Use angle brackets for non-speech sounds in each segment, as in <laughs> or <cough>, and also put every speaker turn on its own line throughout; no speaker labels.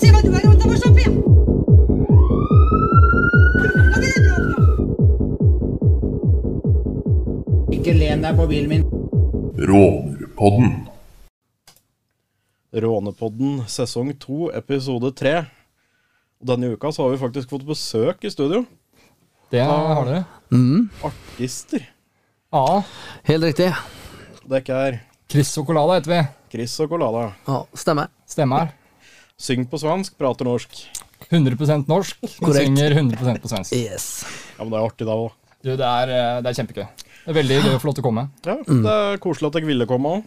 Si hva du har råd til å kjøpe hjem! Hva er det bråk nå?
Ikke len deg på bilen min.
Rånerpodden.
Rånepodden sesong 2, episode 3. Og denne uka så har vi faktisk fått besøk i studio.
Det har du.
Artister.
Ja.
Helt riktig.
Det er ikke her.
Chris Sokolada heter vi.
Chris og Colada.
Ja, stemmer.
Stemmer.
Syng på svensk, prater norsk.
100 norsk. Hun
Korrekt.
synger 100 på svensk.
Yes.
Ja, men det er artig da òg.
Du, det er, eh, det er kjempegøy. Det er veldig gøy å få lov til å komme.
Ja, det er koselig at dere ville komme òg.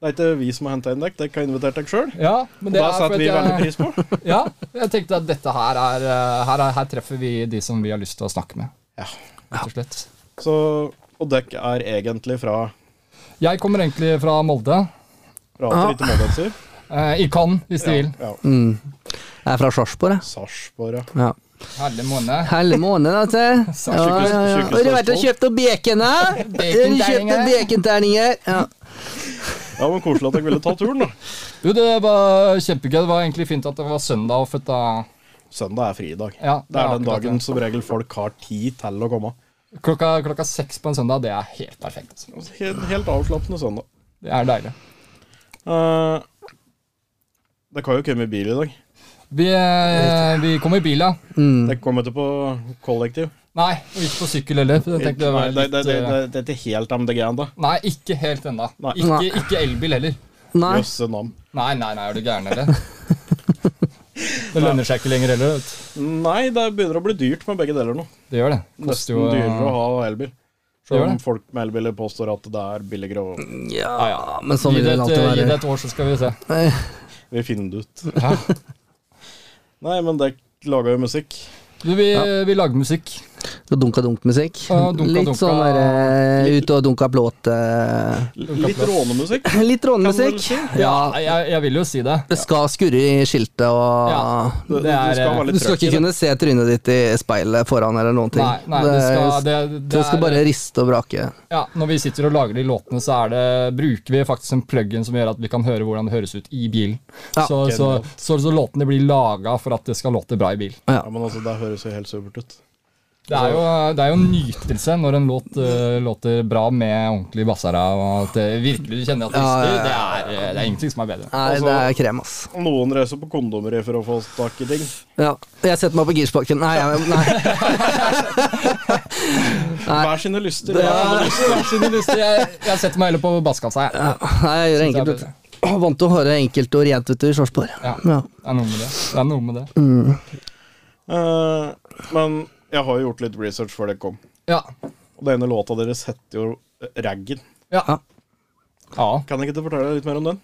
Det er ikke vi som har henta inn dere, dere har invitert dere sjøl.
Ja, men
Det
det er
setter
fordi
vi
at
veldig
jeg-
pris på.
<laughs> Ja, jeg tenkte at dette her er eh, her, er, her treffer vi de som vi har lyst til å snakke med,
Ja.
rett og slett.
Så, og dere er egentlig fra
Jeg kommer egentlig fra Molde.
Prater ikke moldenser.
Eh, I Cannes, hvis de vil.
Ja.
Jeg er fra Sarpsborg, jeg.
Sarpsborg, ja.
Ja.
Herlig måned.
Hele måneden, altså.
<laughs> Sa
Ja, ja, ja.
tjukkeste
Har du vært og
spørsmål.
kjøpt noen bacon, da?
Bekenterninger.
Kjøpte bekenterninger. Ja.
ja, men koselig at dere ville ta turen, da.
Du, det var kjempegøy. Det var egentlig fint at det var søndag og født da
Søndag er fridag.
Ja,
det er den
akkurat
dagen
det.
som regel folk har tid til å komme.
Klokka, klokka seks på en søndag, det er helt perfekt. Altså.
Altså, Helt, helt avslappende søndag.
Det er deilig.
Eh, det kan jo komme i bil i dag.
Vi, eh, vi kom i bil, ja.
Det kom etterpå kollektiv.
Nei, og ikke på sykkel heller. for Jeg tenkte det var
Nei, det,
litt,
det, det,
eh,
det, det er ikke helt MDG ennå.
nei, ikke helt ennå.
Nei.
Ikke, ikke elbil heller.
Nei.
Jøsse nam.
Nei, nei, nei, er du
<laughs>
gæren, eller? Det lønner seg ikke lenger heller. vet du.
Nei, det begynner å bli dyrt med begge deler nå.
Det gjør det. Koster
Nesten
jo eh,
dyrere å ha elbil.
Det gjør
Selv om
det.
folk med elbiler påstår at det er billigere, og
Ja, men sånn
Gi
vil
det et,
det
eh,
alltid
gi det
være.
et år, så skal vi se.
vi finner det ut.
Ja.
Nei, men dere laga jo musikk.
<laughs> Du, vi, vi lager musikk.
Dunka-dunk-musikk.
Ja, dunka,
Litt
dunka.
sånn derre ute og dunka plåt eh,
L- Litt rånemusikk.
Litt rånemusikk. Ja.
Nei, Jeg, jeg vil jo si det.
Det skal skurre i skiltet
Ja.
og
Det,
Det er,
skal
eh,
være
Ah. Du
litt
skal
trøkk i
ikke
det.
kunne se trynet ditt i speilet foran eller noen ting.
Nei, nei, det skal, det, det
Du skal
er-
bare riste og vrake.
Ja, Når vi sitter og lager de låtene, så er det, bruker vi faktisk en plug-in som gjør at vi kan høre hvordan det høres ut i bilen.
Ja.
så, så, så, så låtene blir laga for at det skal låte bra i bil.
Ja, men altså, Det høres jo helt supert ut.
Det er jo, det er jo en nytelse når en låt eh, låter bra med ordentlig bassara, og at det virkelig du kjenner at det
Ja, ja,
rister. Det er, eh, det er ingenting som er bedre.
Nei,
Altså-
det er krem, ass.
Noen reiser på kondomeri for å få tak i ting.
Ja, jeg setter meg på girspaken. Nei, jeg, nei.
Hver sine lyster.
Det
hver
er-
sine lyster.
Jeg, jeg setter meg heller på basskassa, jeg.
nei jeg gjør det enkelt.
det er
vet du. Vant til å høre enkelt og rent ute i Sarpsborg.
Ja.
Ja. Mm.
Det er noe med det. Det er noe med det.
Eh, men jeg har jo gjort litt research før dere kom.
Ja.
Og det ene låta deres heter jo eh, Raggen.
Ja. ja.
Kan ikke du fortelle litt mer om den?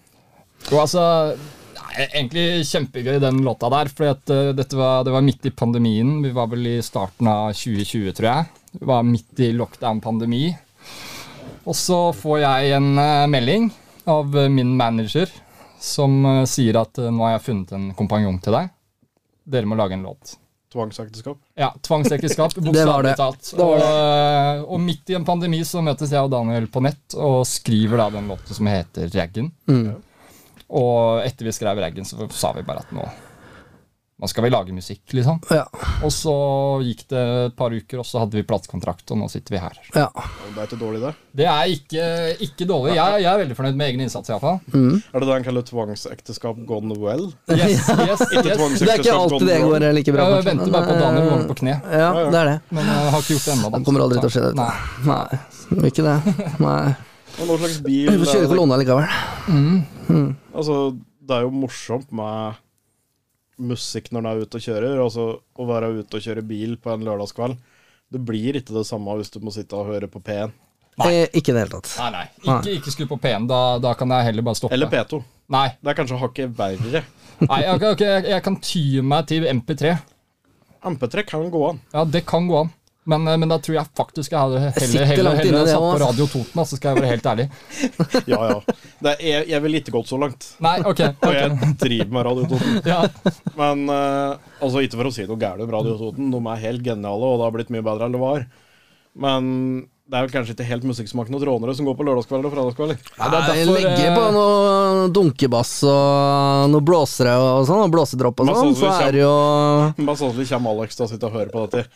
Jo, altså nei, Egentlig kjempegøy, den låta der. For dette var, det var midt i pandemien. Vi var vel i starten av 2020, tror jeg. Vi var midt i lockdown-pandemi. Og så får jeg en eh, melding av eh, min manager som eh, sier at eh, nå har jeg funnet en kompanjong til deg. Dere må lage en låt.
Tvangsekteskap.
Ja, tvangsekteskap,
var
bokstavelig
<laughs> det.
talt. Og, og midt i en pandemi så møtes jeg og Daniel på nett og skriver da den låten som heter Raggen.
Mm.
Og etter vi skrev Raggen, så sa vi bare at nå nå skal vi lage musikk, liksom.
Ja.
Og så gikk det et par uker, og så hadde vi platekontrakt, og nå sitter vi her.
ja.
Det er ikke dårlig, det.
Det er ikke, ikke dårlig. Jeg, jeg er veldig fornøyd med egen innsats, iallfall.
<laughs>
Er det det han kaller tvangsekteskap gone well?
Yes, yes,
Ikke
yes.
Det er ikke
tvangsekteskap
alltid det
gone well.
går eh, like bra.
Jeg
kanskje,
venter
men,
bare på Daniel
eh,
går på kne.
Ja, det er det.
Men jeg har ikke gjort det ennå.
Det kommer aldri til å skje,
Nei.
dette. Nei, ikke det. Nei.
Men hva slags bil
Vi får
er
kjøre
det?
kolonna likevel.
Altså, det er jo morsomt med musikk når en er ute og kjører. Altså, å være ute og kjøre bil på en lørdagskveld. Det blir ikke det samme hvis du må sitte og høre på P1
Eh, Ikke i det hele tatt.
Nei, nei. Ikke, ikke skru på P1. Da, da kan jeg heller bare stoppe.
eller P2.
Nei,
Det er kanskje hakket verre.
nei jeg, kan- jeg, jeg kan ty meg til MP3.
MP3 kan gå an.
Ja, det kan gå an. Men, eh, men da tror jeg faktisk jeg hadde heller,
sitter
heller,
langt inne i
heller
det
satt på
også, altså.
Radio Toten, altså, skal jeg være helt ærlig.
Ja, ja. Det er, jeg, jeg ville ikke gått så langt.
Nei,
<laughs>
ok.
Og jeg driver med Radio Toten.
Ja,
Men eh, altså, ikke for å si noe gærent om Radio Toten, de er helt geniale, og det har blitt mye bedre enn det var. Men det er vel kanskje ikke helt musikksmaken hos rånere som går på lørdagskvelder og fredagskvelder.
Ja, det er
Nei,
derfor,
legge på
eh,
noe dunkebass og noe blåsere og sånn, og blåsedropp og
Men
sånn,
sånn
så
som vi
er det jo
Mest sannsynlig sånn kommer Alex til å sitte og høre på dette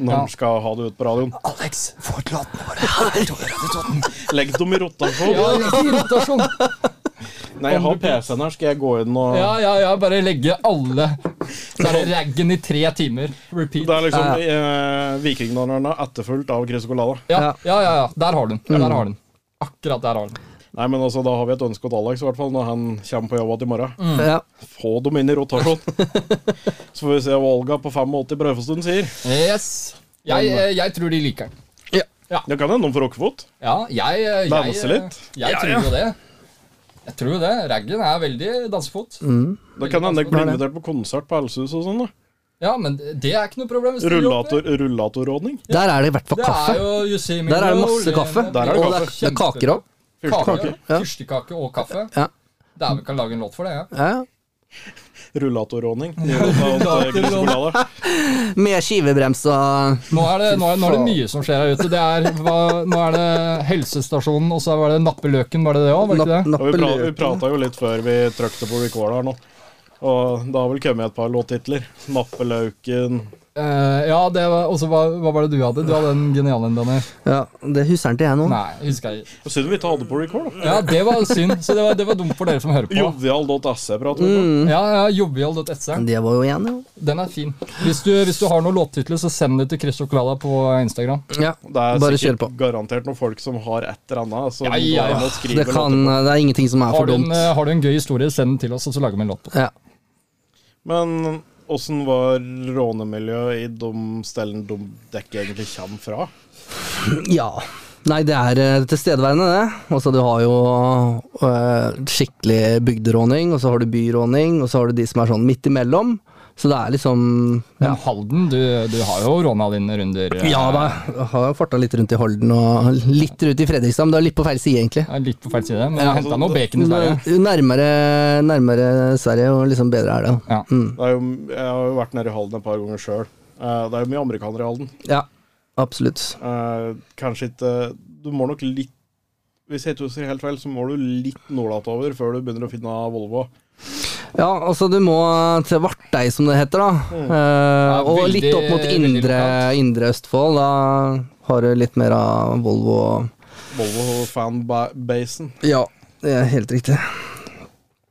når
Ja.
han skal ha det ut på radioen.
Alex, få ut låtene våre.
Legg dem i rotasjon!
Ja, legg i rotasjon.
Nei, jeg har PC-en her, skal jeg gå inn og
Ja, ja, ja, bare legge alle Så er det raggen i tre timer. Repeat.
Det er liksom
Ja,
eh, Vikingdannerne etterfulgt av Chris Colada.
Ja, ja, ja, ja. Der har du den.
Mm.
Ja, der har du den. Akkurat der har du den.
Nei, men altså, da har vi et ønske til Alex, i hvert fall, når han kommer på jobb igjen i morgen.
Mm.
ja.
Få dem inn i rotasjon! Så får vi se hva Olga på 85 Brødfostuen sier.
Yes. Jeg,
Sånn
eh, jeg tror de liker den.
Det kan hende de får rockefot.
Ja, jeg, eh, jeg,
Danse
eh,
litt.
jeg tror jo det. Jeg tror jo det. Raggen er veldig dansefot.
Mm.
Det kan hende jeg blir invitert på konsert på Helsehuset og sånn. da.
Ja, men det er ikke noe problem. hvis de jobber.
Rullator, rullatorrådning.
Der er det i hvert fall
Det
kaffe.
er jo Yosemite
Der er det
Roll,
masse kaffe.
eh,
Der er det
Og det er,
kaffe.
det er kaker òg.
Kake,
Fyrstekake.
Ja.
Fyrstekake og kaffe.
Ja.
Dæven, kan lage en låt for det. Ja.
Ja.
Rullatorrådning. Ny låt av eh, Chris Colada.
Med skivebrems og
Nå er, det, nå, er, nå er det mye som skjer her ute. Det er, hva, nå er det helsestasjonen, og så var det nappeløken, var det det òg?
napp,
Og vi pra- vi
nappelø.
prata jo litt før vi trykte på record her nå. Og det har vel kommet et par låttitler. 'Nappelauken',
Eh, ja, det var, og så hva, hva var det du hadde? Du hadde en genial en, Daniel.
Ja, det husker han til jeg nå.
Nei, husker jeg ikke.
Synd vi ikke hadde på record, da.
Ja, det var synd. Så det var, det var dumt for dere som hører på.
Jovial.se E prater vi om.
Ja, ja, jovial.se.
De var jo igjen, jo.
Den er fin. Hvis du, hvis du har noen låttitler, så send det til Chris Chocolada på Instagram.
Ja.
Det er
Bare kjør
sikkert
på.
garantert noen folk som har et eller annet som
Ja, ja, ja.
må
Det,
skrive
kan,
låter.
det er ingenting som er
Har
for
du, en,
dumt.
eh, har du en gøy historie, send den til oss, og så lager vi en låt på den.
Ja. <clears throat>
Men åssen var rånemiljøet i de stedene de dekket egentlig kommer fra?
ja. Nei, det er eh, tilstedeværende, det. Altså, du har jo eh, skikkelig bygderåning, og så har du byråning, og så har du de som er sånn midt imellom. Så det er liksom
Men
Ja,
Halden, du, du har jo råna dine runder. eh,
ja da. Jeg har farta litt rundt i Holden og litt rundt i Fredrikstad, men det er litt på feil side, egentlig.
er Litt på feil side, men jeg
altså,
henta noe bacon i Sverige.
Jo Nærmere, nærmere Sverige, og liksom bedre er det.
Ja.
Det er jo, jeg har jo vært nede i Halden et par ganger sjøl. Det er jo mye amerikanere i Halden.
Ja, absolutt.
Eh, Kanskje ikke Du må nok litt Hvis jeg ikke husker helt feil, så må du litt nordatover før du begynner å finne Volvo.
Ja, altså du må til Vartei, som det heter, da. Eh, og
veldig-
litt opp mot
veldig
indre, indre Østfold. Da har du litt mer av Volvo og
Volvo fanbasen.
Ja, det er helt riktig.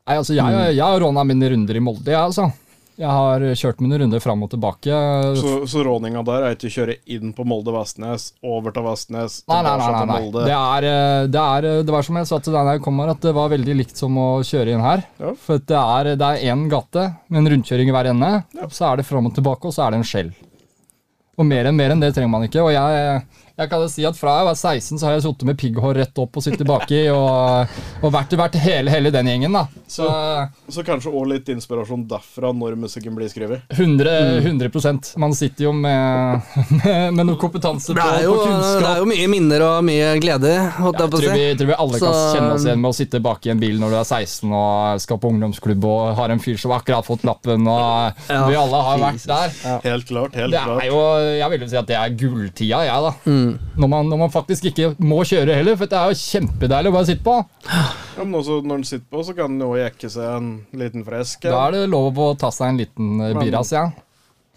Nei, altså, jeg,
Mm.
jeg har råna mine runder i Molde, jeg, altså. Jeg har kjørt mine runder fram og tilbake. eh,
Så, så råninga der er ikke å kjøre inn på Molde-Vestnes, over til Vestnes,
Nei, nei, nei.
tilbake
nei,
til
nei. Det, er, eh, det, er, eh, det var som jeg sa til deg da jeg kom her, at det var veldig likt som å kjøre inn her.
Ja.
For at det er, det er én gate med en rundkjøring i hver ende, så er det fram og tilbake, og så er det en skjell. Og mer enn, mer enn det trenger man ikke. Og jeg, jeg kan jo si at fra jeg var 16, så har jeg sittet med pigghår rett opp og sittet baki, og, og vært, vært hele, hele den gjengen, da. Så
Så kanskje også litt inspirasjon derfra når musikken blir skrevet.
Mm.
100, 100 Man sitter jo med, <laughs> med, med noe kompetanse
Det
på,
er jo,
på kunnskap.
det er jo mye minner og mye glede, holdt jeg på å
tror
si.
vi, tror vi alle kan
Så-
kjenne oss igjen med å sitte bak i en bil når du er 16 og skal på ungdomsklubb og har en fyr som akkurat har fått lappen, og
Ja,
vi alle har vært der.
Helt klart. helt
Det
klart.
er jo, Jeg vil jo si at det er gulltida, jeg, da.
Mm.
Når, man, når man faktisk ikke må kjøre heller, for det er jo kjempedeilig å bare sitte på.
Ja, men også når den sitter på, så kan den jo jekke seg en liten fresk.
Da er det lov å ta seg en liten eh, biras, ja.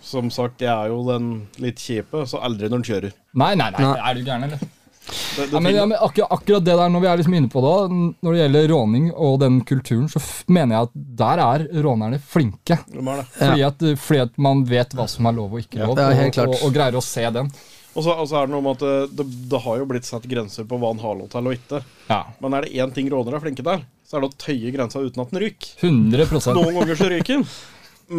Som sagt, jeg er jo den litt kjipe, så aldri når den kjører.
Nei, nei, nei,
Nei.
er du gæren, eller?
Det, det
Ja, men, ja, men akkurat, akkurat det der, når vi er liksom inne på det, n- når det gjelder råning og den kulturen, så f mener jeg at der er rånerne flinke.
finner- de er det.
Fordi at, fordi at man vet hva som er lov og ikke lov,
Ja, helt
og,
klart.
og, og greier å se den.
Og så og så er det noe med at eh, det, det har jo blitt satt grenser på hva en har lov til og ikke.
Ja.
Men er det én ting rånere er flinke til, så er det å tøye grensa uten at den ryker.
100
Noen ganger så ryker den,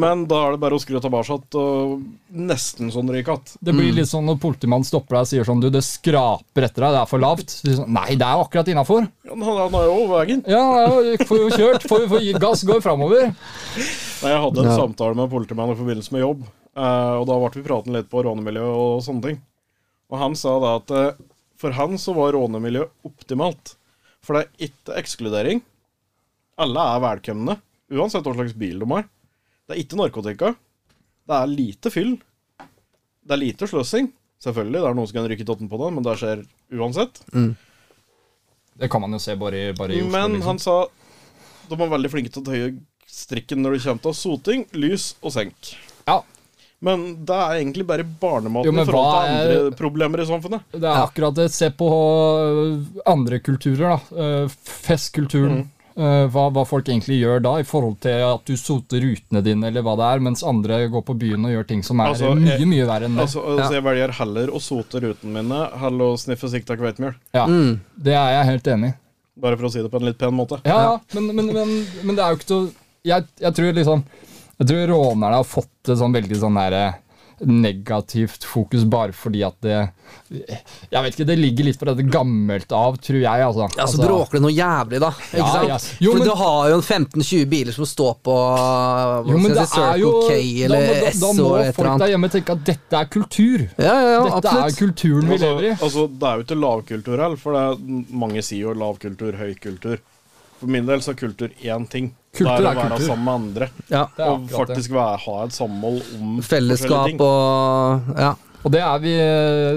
men da er det bare å skru tilbake igjen og nesten sånn ryker igjen.
Det
Mm.
blir litt sånn når politimannen stopper deg og sier sånn Du, det skraper etter deg, det er for lavt. Så sier du sånn, Nei, det er jo akkurat innafor.
Ja, Han han er jo over veien.
Ja, ja, får jo kjørt, får, får gitt gass, går framover.
Nei, Jeg hadde en samtale med en politimann i forbindelse med jobb, eh, og da ble vi praten litt på rånemiljø og sånne ting. Og han sa da at eh, for han så var rånemiljø optimalt, for det er ikke ekskludering. Alle er velkomne, uansett hva slags bil de har. Det er ikke narkotika. Det er lite fyll. Det er lite sløsing. Selvfølgelig, det er noen som kan rykke totten på det, men det skjer uansett.
Det kan man jo se bare, i- bare i Oslo.
Men
liksom.
han sa de var veldig flinke til å tøye strikken når det kommer til soting, lys og senk.
Ja,
Men det er egentlig bare barnematen
Jo, men
i forhold
hva
til
er-
andre problemer i samfunnet.
det er akkurat det. Se på øh, andre kulturer, da. Øh, Festkulturen. Øh, Hva, hva folk egentlig gjør da, i forhold til at du soter rutene dine, eller hva det er, mens andre går på byen og gjør ting som er
Altså,
mye,
jeg-
mye verre enn det.
Altså, altså Jeg velger heller å sote rutene mine enn å sniffe sikta kveitmjøl.
ja, Det er jeg helt enig i.
Bare for å si det på en litt pen måte.
Ja, Men, men, men, men det er jo ikke til å jeg, jeg tror liksom Jeg tror rånerne har fått et sånn veldig sånn derre negativt fokus bare fordi at det Jeg vet ikke, det ligger litt på dette gammelt av, tror jeg, altså.
Ja, så
Altså,
bråker det noe jævlig, da. Ikke
Ja,
sant?
ja. Jo,
For
men-
du har jo en 15-20 biler som står på hva
jo, men
skal
det
jeg si, Circle
er jo
K
da,
eller
må, da,
S
da må
og et eller
folk der
annet.
hjemme tenke at dette er kultur.
Ja, ja, ja,
dette er
absolutt.
kulturen vi lever i.
Altså, altså, det er jo ikke lavkultur heller, for det er, mange sier jo lavkultur, høykultur. For min del så er kultur én ting.
Kultur
det er,
er
å være
kultur.
sammen med andre.
Ja.
Det er
Og
akkurat det.
faktisk være, ha et samhold om forskjellige ting.
Fellesskap og Ja.
Og det er, vi,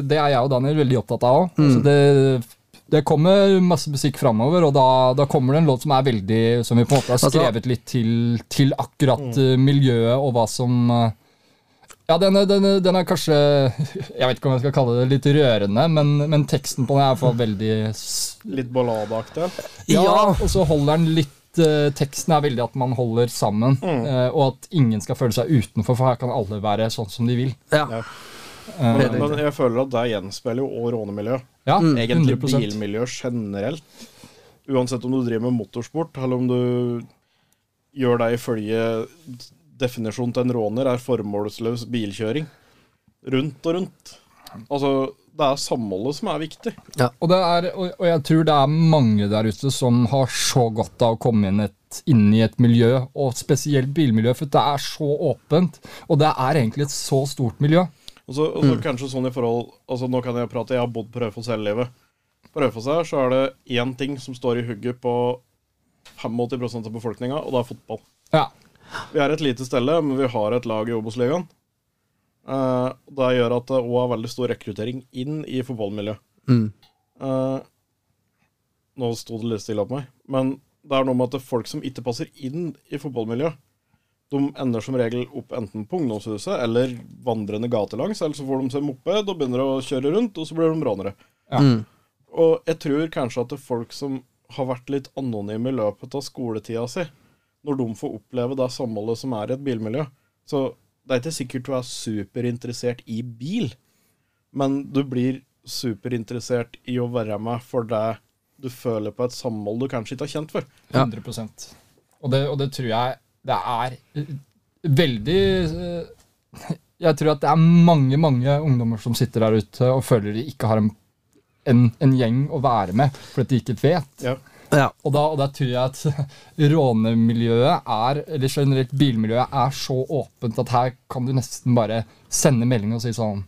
det er jeg og Daniel veldig opptatt av òg.
Mm.
det, det kommer masse musikk framover, og da, da kommer det en låt som er veldig Som vi på en måte har
Altså-
skrevet litt til, til akkurat eh, miljøet og hva som eh, Ja, den er, den, er, den er kanskje <laughs> Jeg vet ikke om jeg skal kalle det litt rørende, men, men teksten på den er i hvert fall veldig s-
Litt balladeaktig.
ja,
Ja.
og så holder den litt eh, Teksten er veldig at man holder sammen, eh, og at ingen skal føle seg utenfor, for her kan alle være sånn som de vil.
ja.
Men, men jeg føler at det gjenspeiler jo òg rånemiljøet.
Ja,
Egentlig
100%.
bilmiljøet generelt. Uansett om du driver med motorsport, eller om du gjør det ifølge definisjonen til en råner, er formålsløs bilkjøring. Rundt og rundt. Altså, det er samholdet som er viktig.
Og, det er, og og jeg tror det er mange der ute som har så godt av å komme inn, et, inn i et miljø, og spesielt bilmiljø, for det er så åpent. Og det er egentlig et så stort miljø.
Og så, og så kanskje sånn i forhold Altså Nå kan jeg prate, jeg har bodd på Raufoss hele livet. På Raufoss her så er det én ting som står i hugget på 85 av befolkninga, og det er fotball.
Ja,
Vi er et lite stelle, men vi har et lag i Obos-ligaen. Eh, det gjør at det òg er veldig stor rekruttering inn i fotballmiljøet. Eh, nå sto det litt stille opp meg, men det er noe med at det er folk som ikke passer inn i fotballmiljøet, de ender som regel opp enten på ungdomshuset eller vandrende gatelangs, eller så får de seg moped og begynner å kjøre rundt, og så blir de rånere.
Ja.
Og jeg tror kanskje at det er folk som har vært litt anonyme i løpet av skoletida si, når de får oppleve det samholdet som er i et bilmiljø. Så det er ikke sikkert du er superinteressert i bil, men du blir superinteressert i å være med for det du føler på et samhold du kanskje ikke har kjent før.
100 og, det, og det tror jeg det er eh, veldig eh, Jeg tror at det er mange, mange ungdommer som sitter der ute og føler de ikke har en, en, en gjeng å være med, fordi de ikke vet.
Ja.
ja.
Og da, og da tror jeg at <laughs> rånemiljøet er, eller generelt bilmiljøet, er så åpent at her kan du nesten bare sende melding og si sånn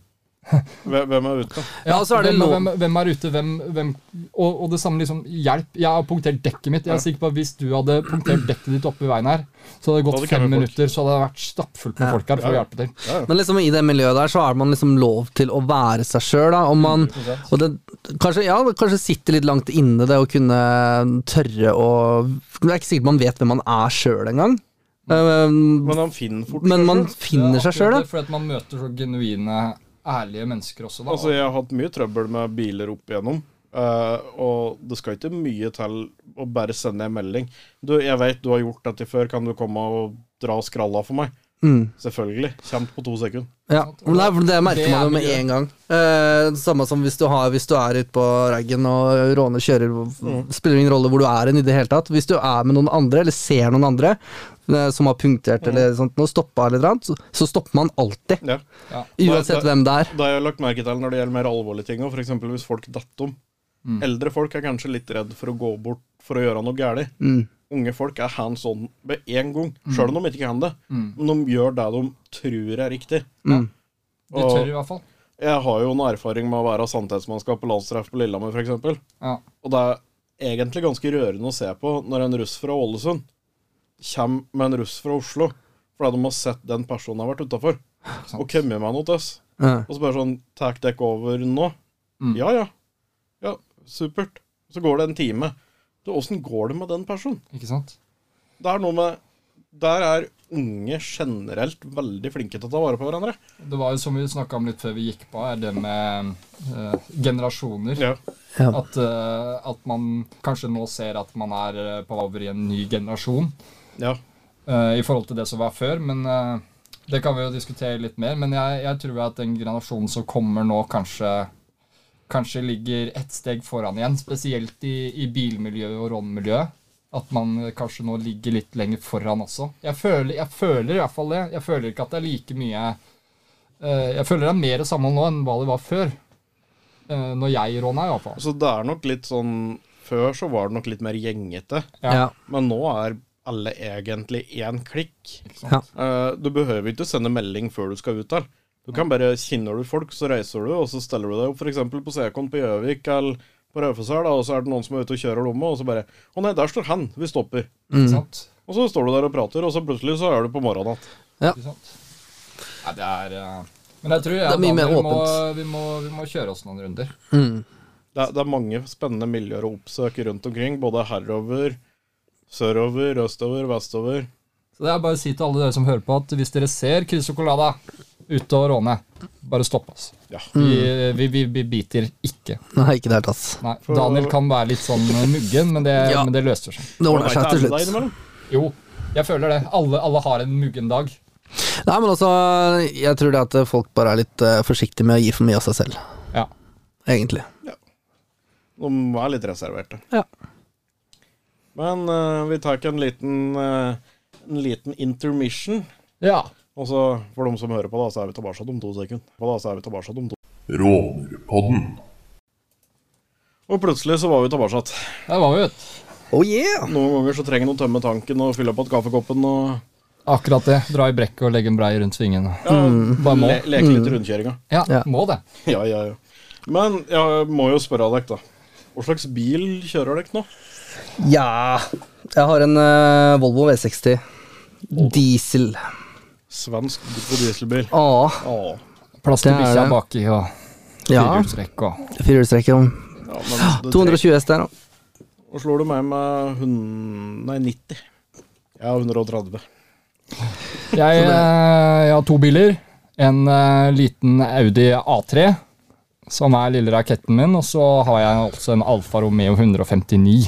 Hvem er ute?
Ja, og så er det
hvem,
lov-
hvem, hvem er ute, hvem, hvem og, og det samme liksom Hjelp, jeg har punktert dekket mitt. Jeg er sikker på at Hvis du hadde punktert dekket ditt oppe i veien her, så hadde det
Da hadde
gått
det kommet
fem
folk.
minutter, så hadde det vært stappfullt med folk her for å hjelpe til.
Men liksom i det miljøet der så er man liksom lov til å være seg sjøl, da. Om man, og det kanskje, ja, det kanskje sitter litt langt inne det å kunne tørre å Det er ikke sikkert man vet hvem man er sjøl engang. Um,
Men han finner fort
Men
seg
man
selv.
finner seg sjøl, da.
Fordi at man møter så genuine, ærlige mennesker også, da.
Altså, jeg har hatt mye trøbbel med biler opp igjennom. eh, og det skal ikke mye til å bare sende en melding. Du, jeg vet du har gjort dette før, kan du komme og dra skralla for meg? Selvfølgelig. Kjent på to sekunder.
Ja. Men det, er- det merker
Det
man
er
jo med
miljø.
en gang. Eh, samme som hvis du, har, hvis du er ute på raggen og råner kjører, spiller ingen rolle hvor du er hen i det hele tatt. Hvis du er med noen andre, eller ser noen andre eh, som har punktert eller sånt, noe, stoppa eller noe, så, så stopper man alltid.
Ja.
Uansett
Nei, det-
hvem det er.
Det har jeg lagt merke til når det gjelder mer alvorlige ting. F.eks. hvis folk detter om. Eldre folk er kanskje litt redd for å gå bort for å gjøre noe galt. Unge folk er hands on med en gang, sjøl om de ikke kan det. Men de gjør det de tror er riktig.
Mm.
De tør i hvert fall.
Jeg har jo en erfaring med å være sannhetsmannskap på landstreff på Lillehammer, f.eks.
Ja.
Og det er egentlig ganske rørende å se på når en russ fra Ålesund kommer med en russ fra Oslo fordi de har sett den personen har vært utafor, og kommet med noe til oss.
Ja.
Og så bare sånn Takk dekk over nå.
Mm.
Ja, ja. Ja, supert. Så går det en time. Du, åssen går det med den personen?
Ikke sant?
Det er noe med Der er unge generelt veldig flinke til å ta vare på hverandre.
Det var jo som vi snakka om litt før vi gikk på, er det med eh, generasjoner.
Ja.
Ja.
At, eh, at man kanskje nå ser at man er eh, på vei over i en ny generasjon
ja.
eh, i forhold til det som var før. Men eh, det kan vi jo diskutere litt mer. Men jeg, jeg tror at den generasjonen som kommer nå, kanskje, kanskje ligger ett steg foran igjen. Spesielt i, i bilmiljøet og rånmiljøet. At man kanskje nå ligger litt lenger foran også. Jeg føler, jeg føler i hvert fall det. Jeg føler ikke at det er like mye eh, Jeg føler det er mer samhold nå enn hva det var før. Eh, når jeg råna, i hvert fall.
Så Altså, det er nok litt sånn Før så var det nok litt mer gjengete,
Ja.
men nå er alle egentlig én klikk.
Ikke sant?
Eh, du behøver ikke sende melding før du skal ut der. Du kan bare Kjenner du folk, så reiser du, og så steller du deg opp f.eks. på Sekon på Gjøvik eller på Raufoss her, da, og så er det noen som er ute og kjører lomme, og så bare Å nei, der står han. Vi stopper.
Ikke sant?
Og så står du der og prater, og så plutselig så er du på morgenen igjen.
Ikke sant? Nei, det er eh, Men jeg tror jeg,
Det er mye
Daniel,
mer
vi må, vi, må, vi må kjøre oss noen runder.
Mm.
Det, er- det er mange spennende miljøer å oppsøke rundt omkring, både herover, sørover, østover, vestover.
Så det er bare å si til alle dere som hører på, at hvis dere ser Chris Colada ute og råne, bare stopp oss.
Ja.
Vi,
Mm.
vi, vi, vi biter ikke.
Nei, ikke i det hele tatt.
Nei, Daniel kan være litt sånn eh, muggen, men det,
Ja.
men det løser seg.
Det ordner seg til
Alle er
slutt.
innimellom.
Jo, jeg føler det. Alle, alle har en muggen dag.
Nei, men altså, jeg tror det at folk bare er litt eh, forsiktige med å gi for mye av seg selv,
Ja.
egentlig.
De er litt reserverte.
Ja.
Men eh, vi tar ikke en liten, eh, en liten intermission.
ja.
Og så, for de som hører på, da, så er vi tilbake om to sekunder. Og, da, så er vi tilbake om to.
Rånerpodden.
og plutselig så var vi tilbake.
Der var vi, vet du.
Oh yeah!
Noen ganger så trenger en å tømme tanken og fylle opp igjen kaffekoppen og
Akkurat det. Dra i brekket og legge en brei rundt svingen.
ja,
Bare må.
le leke litt i rundkjøringa. <laughs>
Ja,
Ja.
må det.
Ja, ja, ja. Men jeg må jo spørre dere, da. Hva slags bil kjører dere nå?
Ja Jeg har en eh, Volvo V60.
Oh.
Diesel.
Svensk på dieselbil.
Ah,
Åh.
Plass til
Det er
bikkja
det.
baki og
ja.
firehjulstrekk og
Firehjulstrekker om
Ja, men det
220 hest der. da.
Og slår du meg med 100, nei, 90. Jeg har 130.
Jeg, eh, jeg har to biler. En eh, liten Audi A3, som er lille raketten min. Og så har jeg også en Alfa Romeo 159.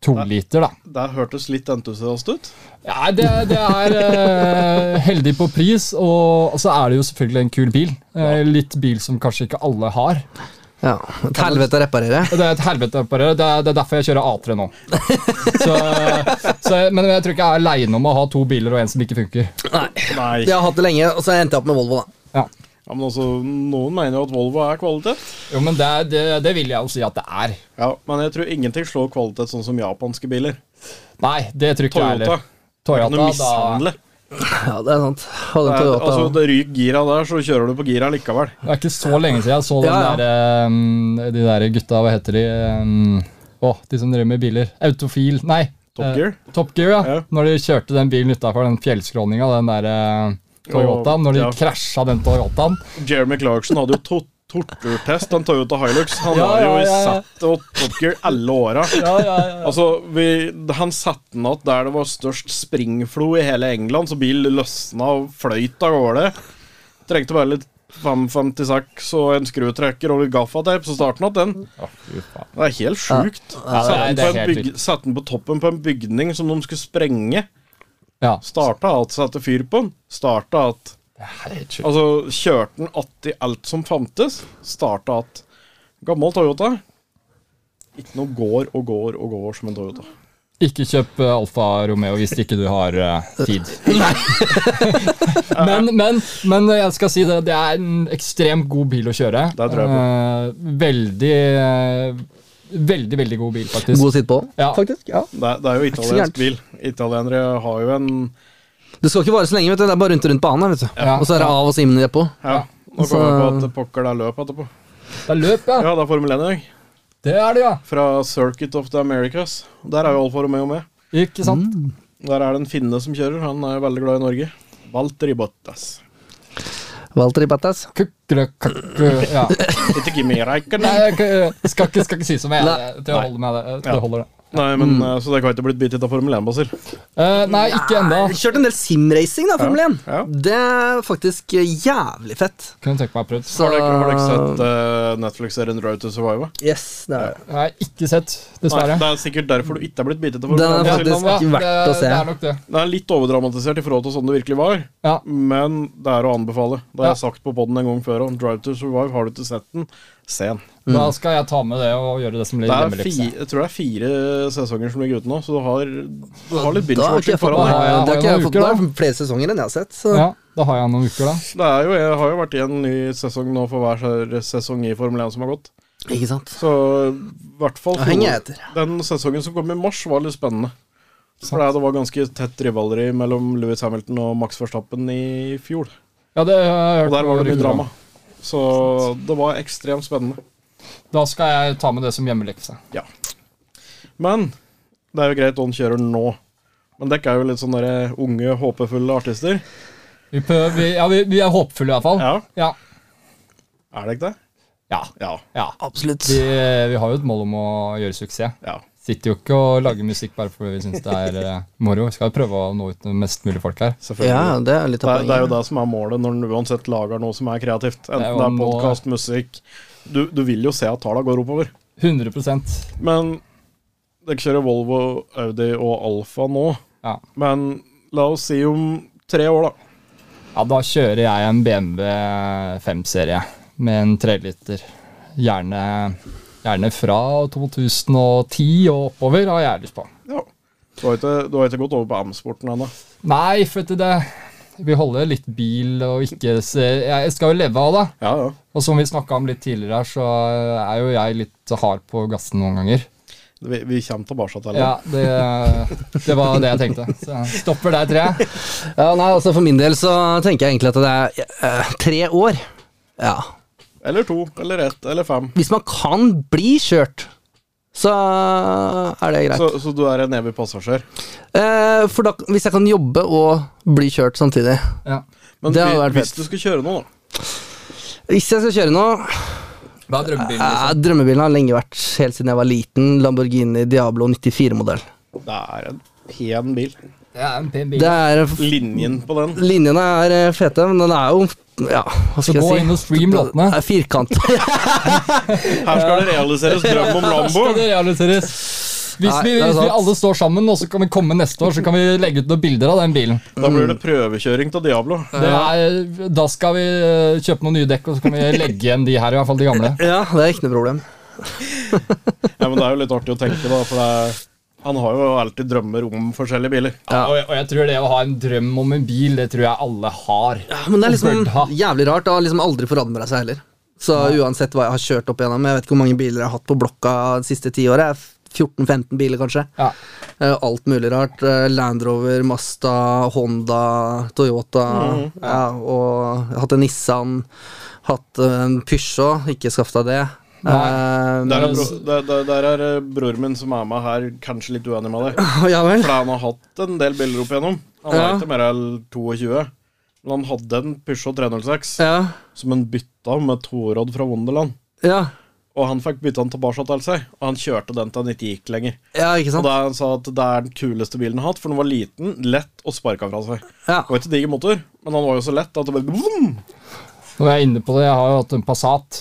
To liter, da.
Det hørtes litt entusiast ut.
Ja, det, det er eh, heldig på pris, og så er det jo selvfølgelig en kul bil. Eh, litt bil som kanskje ikke alle har.
Ja. Et helvete å reparere.
Det er et helvete på det. Det er, det er derfor jeg kjører A3 nå. Så, så, men jeg tror ikke jeg er aleine om å ha to biler og en som ikke funker.
Nei.
Jeg har hatt det lenge, og så endte jeg opp med Volvo, da.
Ja.
Ja, men altså, Noen mener jo at Volvo er kvalitet.
Jo, men det, er- det, det vil jeg jo si at det er.
Ja, Men jeg tror ingenting slår kvalitet sånn som japanske biler.
Nei, det tror ikke jeg
Toyota.
heller.
Toyota
Toyota,
kan du
da
mishandle.
Ja, det er sant. Hadde
Det
en
er-
Toyota.
Altså, det ryker gira der, så kjører du på gira likevel.
Det er ikke så lenge siden jeg så den
Ja, ja.
Der, um, de der gutta, hva heter de um, Å, de som driver med biler. Autofil, nei.
Top
eh,
Gear?
Top Gear, ja.
Ja.
Når de kjørte den bilen utafor den fjellskråninga, den der eh, Toyotaen. Når de
Ja.
krasja den Toyotaen.
Jeremy Clarkson hadde jo to torturtest, den Toyota Hilux. Han
Ja,
var jo
ja,
i
ja, ja.
sett og Top Gear alle åra.
Ja, ja, ja.
Altså, vi, han satte den igjen der det var størst springflo i hele England, så bil løsna og fløyt av gårde. Trengte bare litt 556 og en skrutrekker og litt gaffateip, så starten igjen den.
fy faen.
Det er helt sjukt.
Ja, det er-
Satt den
det
på
er
en
helt
byg- Satt den på toppen på en bygning som de skulle sprenge.
Ja.
Starta at satte fyr på den. Starta at Altså, kjørte den att i alt som fantes. Starta at Gammel Toyota. Ikke noe går og går og går som en Toyota.
Ikke kjøp eh, Alfa Romeo hvis ikke du har eh, tid.
<laughs>
<laughs> men, men, men jeg skal si det, det er en ekstremt god bil å kjøre.
Det tror jeg
Eh, veldig, eh, veldig, veldig god bil, faktisk.
God å sitte på,
Ja.
faktisk. Ja.
Det er, det er jo
gærent.
italiensk bil. Italienere har jo en
Du skal ikke vare så lenge, vet du. Det er bare rundt og rundt banen. her, Vet du.
Ja.
Og så er det av og så inn i depot.
Ja, nå
Så-
kommer jeg på at pokker det er løp etterpå.
Det er løp, ja.
Ja, det er Formel 1 i dag.
Det er det, ja.
Fra Circuit of the Americas. Der er jo Alfa Romeo med.
Ikke sant?
Mm.
Der er det en finne som kjører. Han er jo veldig glad i Norge. Walter i Bottas.
Walter Ibatas.
Kukkelekkakku- Ja.
Ikke gi meg reiken.
Nei, jeg kan- skal ikke, skal ikke si som jeg eh,
Nei.
er. Det holder med det. Det
Ja.
holder det.
Nei, men eh, Så det kan ikke ha blitt bitt ut av Formel 1, Basil?
Eh, nei, ikke ennå.
Kjørt en del simracing, da, Formel 1.
ja.
Det er faktisk jævlig fett.
Kunne tenke meg å prøve.
Så-
Har dere, har dere sett eh, Netflix-serien Road to Survive?
Yes, det er det.
Nei, ikke sett,
Nei,
dessverre.
det er sikkert derfor du ikke er blitt bitt ut av
Den
Formel 1.
er
Basil.
faktisk
Ja,
verdt å
det,
se.
det er nok det.
Det er litt overdramatisert i forhold til sånn det virkelig var,
Ja.
men det er å anbefale. Det har
Ja.
jeg sagt på poden en gang før om Drive to Survive. Har du ikke sett den, se den.
Da skal jeg ta med det og gjøre det som blir
Det er
hjemmelekse.
fire, jeg tror det er fire sesonger som ligger ute nå, så du har, du har litt
Da har ikke
binge-watching
jeg fått
foran
med
Ja,
deg.
ja,
det har
det
ikke
var noen
jeg fått med
uker,
meg. flere sesonger enn jeg har sett. Så.
Ja, da har jeg noen uker, da.
Det er jo, jeg har jo vært i en ny sesong nå for hver sesong i Formel 1 som har gått.
Ikke sant?
Så i hvert fall
Da henger jeg etter.
Den sesongen som kom i mars, var litt spennende. For det var ganske tett rivaleri mellom Lewis Hamilton og Max Verstappen i fjor.
Ja, det har jeg hørt
Og der var
på
det mye
rykter om.
drama. Så det var ekstremt spennende.
Da skal jeg ta med det som hjemmelekse.
Men det er jo greit han kjører nå. Men dere er jo litt sånne der eh, unge, håpefulle artister.
Vi, prøver, vi, ja, vi, vi er håpefulle, i hvert fall.
Ja,
Ja.
Er dere ikke det?
Ja.
Ja.
ja.
Absolutt.
Vi, vi har jo et mål om å gjøre suksess.
ja.
Sitter jo ikke og lager musikk bare fordi vi syns det er eh, moro. Vi skal prøve å nå ut til mest mulig folk her.
Selvfølgelig.
Ja, det er litt
Det
av
er, det er jo
poenget.
det som er målet når en uansett lager noe som er kreativt. Enten
er jo
det er
målet.
podkast, musikk du, du vil jo se at tallene går oppover.
100
Men dere kjører Volvo, Audi og Alfa nå.
Ja.
Men la oss si om tre år, da.
ja, da kjører jeg en BMW 5-serie med en 3-liter. Gjerne, gjerne fra 2010 og oppover har jeg lyst på.
Ja. Du har ikke, du har ikke gått over på M-sporten ennå.
Nei, for at det Vi holder litt bil og ikke se Jeg skal jo leve av det.
Ja, ja.
Og som vi snakka om litt tidligere her, så er jo jeg litt hard på gassen noen ganger.
Vi, vi kommer tilbake til det.
Ja, det, det var det jeg tenkte. Så jeg stopper der, tror jeg.
Ja, nei, altså For min del så tenker jeg egentlig at det er eh, tre år. Ja.
Eller to, eller ett, eller fem.
Hvis man kan bli kjørt, så er det greit.
Så, så du er en evig passasjer.
Eh, for da, hvis jeg kan jobbe og bli kjørt samtidig.
Ja.
Men
Det hadde
vi-
vært
hvis
fett.
du skulle kjøre noe, da.
Hvis jeg skal kjøre nå
Hva er drømmebilen?
eh, Drømmebilen har lenge vært helt siden jeg var liten. Lamborghini Diablo 94-modell.
Det er en pen bil.
Det er en pen bil.
Det er
Linjen på den.
Linjene er eh, fete, men den er jo Ja, hva
Så
skal jeg si?
gå inn og stream låtene.
Det er firkant. <laughs>
Her skal det realiseres drøm om Lambo.
Skal det realiseres? Hvis,
Nei,
vi,
det er
hvis vi
sant.
alle står sammen, og så kan vi komme neste år, så kan vi legge ut noen bilder av den bilen.
Da blir det prøvekjøring til Diablo.
Det er, da skal vi eh, kjøpe noen nye dekk, og så kan vi legge igjen de her, i hvert fall de gamle.
ja, det er ikke noe problem.
Ja, men det er jo litt artig å tenke, da. For det er, han har jo alltid drømmer om forskjellige biler.
Ja.
Og, jeg, og jeg tror det å ha en drøm om en bil, det tror jeg alle har.
Ja, Men det er
Og bør ha.
liksom jævlig rart. Det har liksom aldri forandra seg heller. Så uansett hva jeg har kjørt opp igjennom, jeg vet ikke hvor mange biler jeg har hatt på blokka de siste ti åra. 14-15 biler, kanskje.
Ja.
Eh, Alt mulig rart. Eh, Land Rover, Mazda, Honda, Toyota.
Mm.
ja. og jeg har hatt en Nissan. Hatt eh, en Peugeot. Ikke skaff deg det.
Nei.
Eh,
Der er,
Men-
bro, der, der, der er eh, bror min som er med her, kanskje litt uenig med deg.
<laughs> ja vel.
For han har hatt en del biler opp igjennom. Han er
Ja.
ikke mer enn 22. Men han hadde en Peugeot 306
Ja.
som han bytta med Torodd fra Wonderland.
ja.
Og han fikk bytta den tilbake til seg, og han kjørte den til han ikke gikk lenger.
Ja,
Og
ikke sant?
da han sa at det er den kuleste bilen han har hatt, for den var liten, lett og sparka fra seg.
Ja.
Det var ikke diger motor, men han var jo så lett at det bare vroom!
Når jeg er inne på det, jeg har jo hatt en Passat.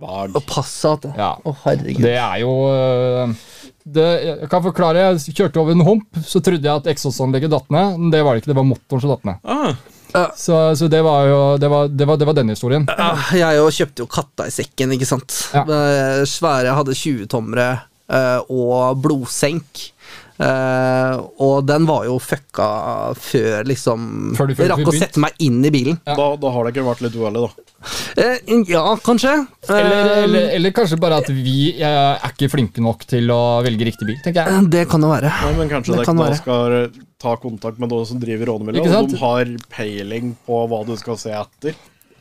Vag.
Og Passat. Å,
Ja.
herregud.
Det er jo øh, det, Jeg kan forklare. Jeg kjørte over en hump, så trodde jeg at eksosanlegget datt ned. Men det var det ikke. Det var motoren som datt ned.
Ah,
Så, så det var jo det var, det var, det var denne historien.
Ja, jeg jo kjøpte jo katta i sekken, ikke sant.
Ja.
Eh, Svære hadde 20-tommere eh, og blodsenk. Eh, og den var jo fucka før liksom
Før du- før du
Jeg rakk
fikk
å
begynt.
sette meg inn i bilen.
Ja.
da, da har dere vært litt uheldige, da.
Eh, ja, kanskje. Eh,
Eller, eller, eller kanskje bare at vi eh, er ikke flinke nok til å velge riktig bil, tenker jeg.
Det kan jo være.
Nei, men kanskje
Det
dere
kan
da
være.
skal ta kontakt med noen som driver rånemiljøet,
Ikke
og
sant?
de har peiling på hva du skal se etter.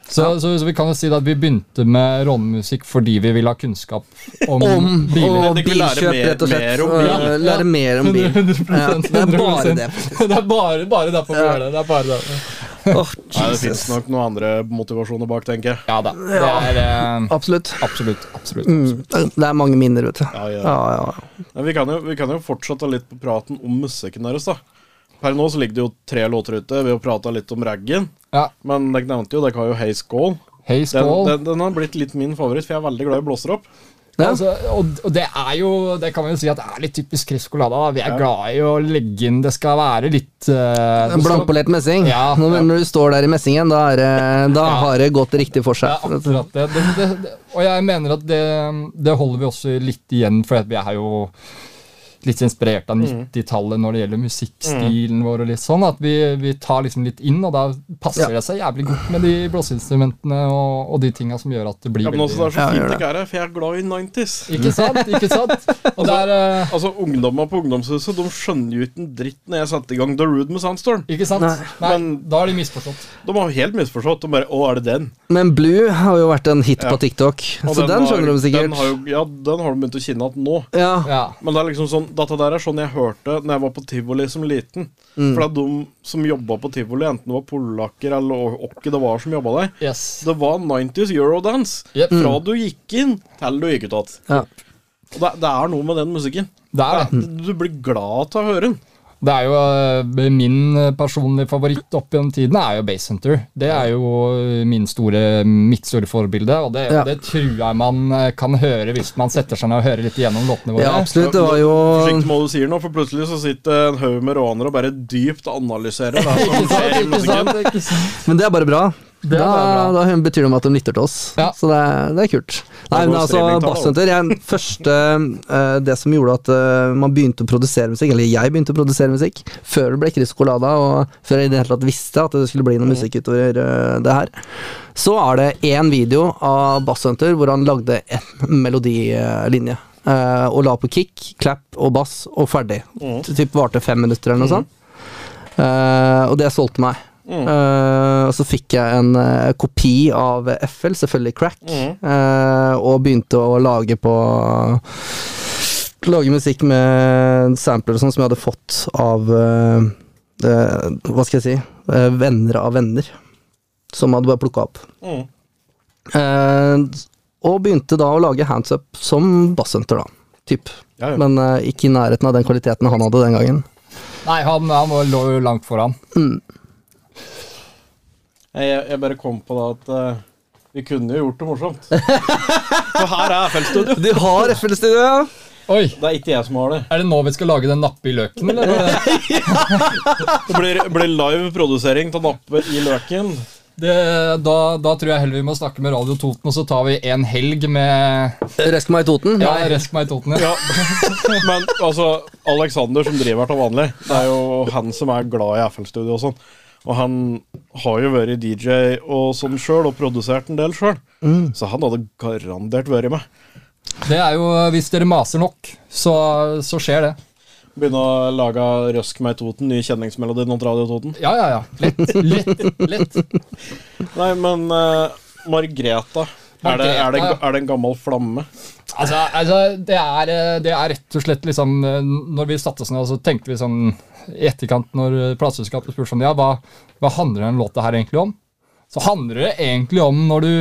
Så, så, så vi kan jo si at vi begynte med rånemusikk fordi vi ville ha kunnskap om,
Om
biler.
og
Det kan lære
bilkjøp,
mer-
rett og slett.
mer om bil.
Eh, Lære mer om bil. Ja, det er bare det.
<laughs> det er bare, bare derfor vi gjør det. det, er bare det.
Åh,
Nei, det
Jesus.
fins nok noen andre motivasjoner bak, tenker jeg.
Ja da. Det er eh,
Absolutt.
absolutt, absolutt.
Mm. Det er mange minner, vet du.
Ja, ja.
Ja, ja.
Men vi kan, jo, vi kan jo fortsette litt på praten om musikken deres, da. Per nå så ligger det jo tre låter ute. Vi har prata litt om raggen.
Ja.
Men dere nevnte jo dere har jo Hey Skål.
Hei,
Den,
skål.
den, den har blitt litt min favoritt, for jeg er veldig glad i blåser opp.
Ja.
Altså, og, og det er jo Det kan vi jo si at det er litt typisk Chris Colada. da. Vi er glad i å legge inn Det skal være litt eh,
En blankpolert messing.
Ja.
Når, når du står der i messingen, da, er, det- da
Ja.
har det gått riktig for
Ja,
seg.
akkurat det. Det, det, det. Og jeg mener at det, det holder vi også litt igjen, for vi er jo litt inspirert av 90-tallet når det gjelder musikkstilen vår. og litt sånn, At vi, vi tar liksom litt inn, og da passer det seg jævlig godt med de blåseinstrumentene og, og de tinga som gjør at det blir
Ja, men også, det er så
Ja, gjør
fint
det.
dere er her, for jeg er glad i 90s.
Ikke sant? Ikke
<laughs>
sant? Og det er, eh,
Altså, Ungdommer på ungdomshuset de skjønner jo ikke en dritt når jeg satte i gang The Rude med Sandstorm.
ikke sant? Nei,
Men-
da er de misforstått.
De har jo helt misforstått. De bare 'Å, er det den?'
Men Blue har jo vært en hit på TikTok,
Og
så den skjønner
har,
de sikkert.
Den har jo, ja, den har de begynt å kjenne igjen nå.
Ja,
Ja.
Men det er liksom sånn, dette der er sånn jeg hørte Når jeg var på tivoli som liten. For det er de som jobba på tivoli, enten det var polakker eller åkke det var som jobba der.
Yes.
Det var 90s eurodance.
Jep.
Fra du gikk inn, til du gikk ut igjen.
ja.
Og det, det er noe med den musikken.
Det er det.
Du blir glad av å høre den.
Det er jo eh, min personlige favoritt opp gjennom tiden er jo Base Hunter. Det er jo eh, min store, mitt store forbilde, og det,
Ja.
det tror jeg man eh, kan høre hvis man setter seg ned og hører litt igjennom låtene våre.
ja, absolutt. Det var jo
Forsiktig med hva du sier nå, for plutselig så sitter en haug med rånere og bare dypt analyserer det som skjer i
<laughs> <laughs> Ikke sant?
musikken.
Ikke sant?
Men det er bare bra.
Det er
Da,
bare
da betyr det at de lytter til oss,
Ja.
så det er, det er kult. Nei,
går
men altså,
streamingtallet opp.
Basshunter jeg- første, eh, Det som gjorde at eh, man begynte å produsere musikk, eller jeg begynte å produsere musikk, før det ble Chris Colada, og før jeg i det hele tatt visste at det skulle bli noe musikk utover eh, det her, så er det én video av Basshunter hvor han lagde en melodilinje. eh, og la på kick, clap og bass, og ferdig. Typ varte fem minutter eller noe
Mm.
sånt. Eh, og det solgte meg.
Mm.
Eh, og så fikk jeg en eh, kopi av FL, selvfølgelig crack,
Mm.
eh, og begynte å lage på Lage musikk med sampler og sånn som jeg hadde fått av eh, eh, Hva skal jeg si eh, Venner av venner. Som hadde bare plukka opp.
Mm.
Eh, og begynte da å lage hands up som basshunter, da. Typ.
Ja, ja.
Men eh, ikke i nærheten av den kvaliteten han hadde den gangen.
Nei, han, han var- lå jo langt foran.
Jeg, jeg bare kom på det at eh, vi kunne jo gjort det morsomt. For her er FL-studio.
Du har FL-studio, ja!
Oi!
Det er ikke jeg som har det.
Er det nå vi skal lage den nappe i løken, eller?
Det blir, blir live produsering av nappe i løken.
Det, da, da tror jeg heller vi må snakke med Radio Toten, og så tar vi en helg med
Røsk meg i Toten?
ja, Resk meg i Toten. Ja. <laughs>
Ja. Men altså, Alexander som driver her til vanlig, det er jo han som er glad i FL-studio og sånn. Og han har jo vært DJ og sånn sjøl, og produsert en del sjøl.
Mm.
Så han hadde garantert vært med.
Det er jo, Hvis dere maser nok, så, så skjer det.
Begynne å lage Røsk meg i Toten, ny kjenningsmelodi mot Radio Toten.
Ja, ja, ja. Lett. Lett. lett.
Nei, men eh, Margreta er det, er, det,
Margreta, ja.
er det en gammel flamme?
Altså, altså det, er, eh, det er rett og slett liksom eh, Når vi satte oss ned, så tenkte vi sånn i etterkant, når eh, plateselskapet spurte sånn Ja, hva, hva handler den låta her egentlig om? Så handler det egentlig om når du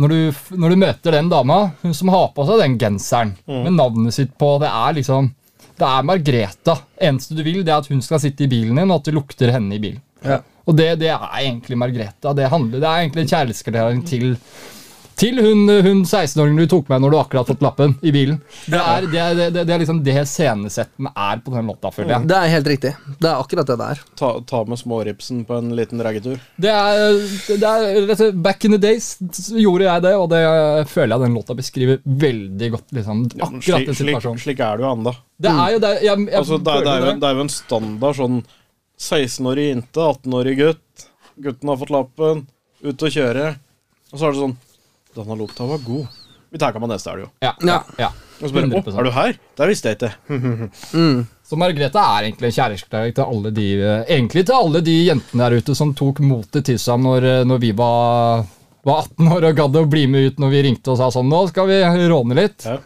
når du, f- når du møter den dama, hun som har på seg den genseren med navnet sitt på Det er liksom Det er Margreta. Eneste du vil, det er at hun skal sitte i bilen din, og at det lukter henne i bilen. Og det, det er egentlig Margreta. Det, handler, det er egentlig en kjærlighetserklæring til til hun, hun 16-åringen du tok med når du akkurat fått lappen i bilen. Det er, det er, det er, det er liksom det scenesetten er på den låta, føler
Mm.
jeg.
Det er helt riktig. Det er akkurat det det er.
Ta, ta med småripsen på en liten raggetur.
Det er, det er, rett og slett- Back in the days så gjorde jeg det, og det føler jeg den låta beskriver veldig godt. liksom, Akkurat
Slik,
den
slik,
situasjonen.
slik er det jo ennå.
Det er jo det, jeg, jeg,
Altså, det, er- det, er jo
føler
en- det er jo en standard sånn 16-årig jente, 18-årig gutt. Gutten har fått lappen, ut og kjøre. Og så er det sånn Denne lopta var god. Vi tar med neste elg, jo.
Ja, ja, ja.
Og så bare Å,
100%.
er du her? Det visste jeg ikke.
Så Margrethe er egentlig en kjærlighetserklæring til alle de eh, Egentlig til alle de jentene der ute som tok motet til seg når, eh, når vi var, var 18 år og gadd å bli med ut når vi ringte og sa sånn Nå skal vi råne litt.
Ja.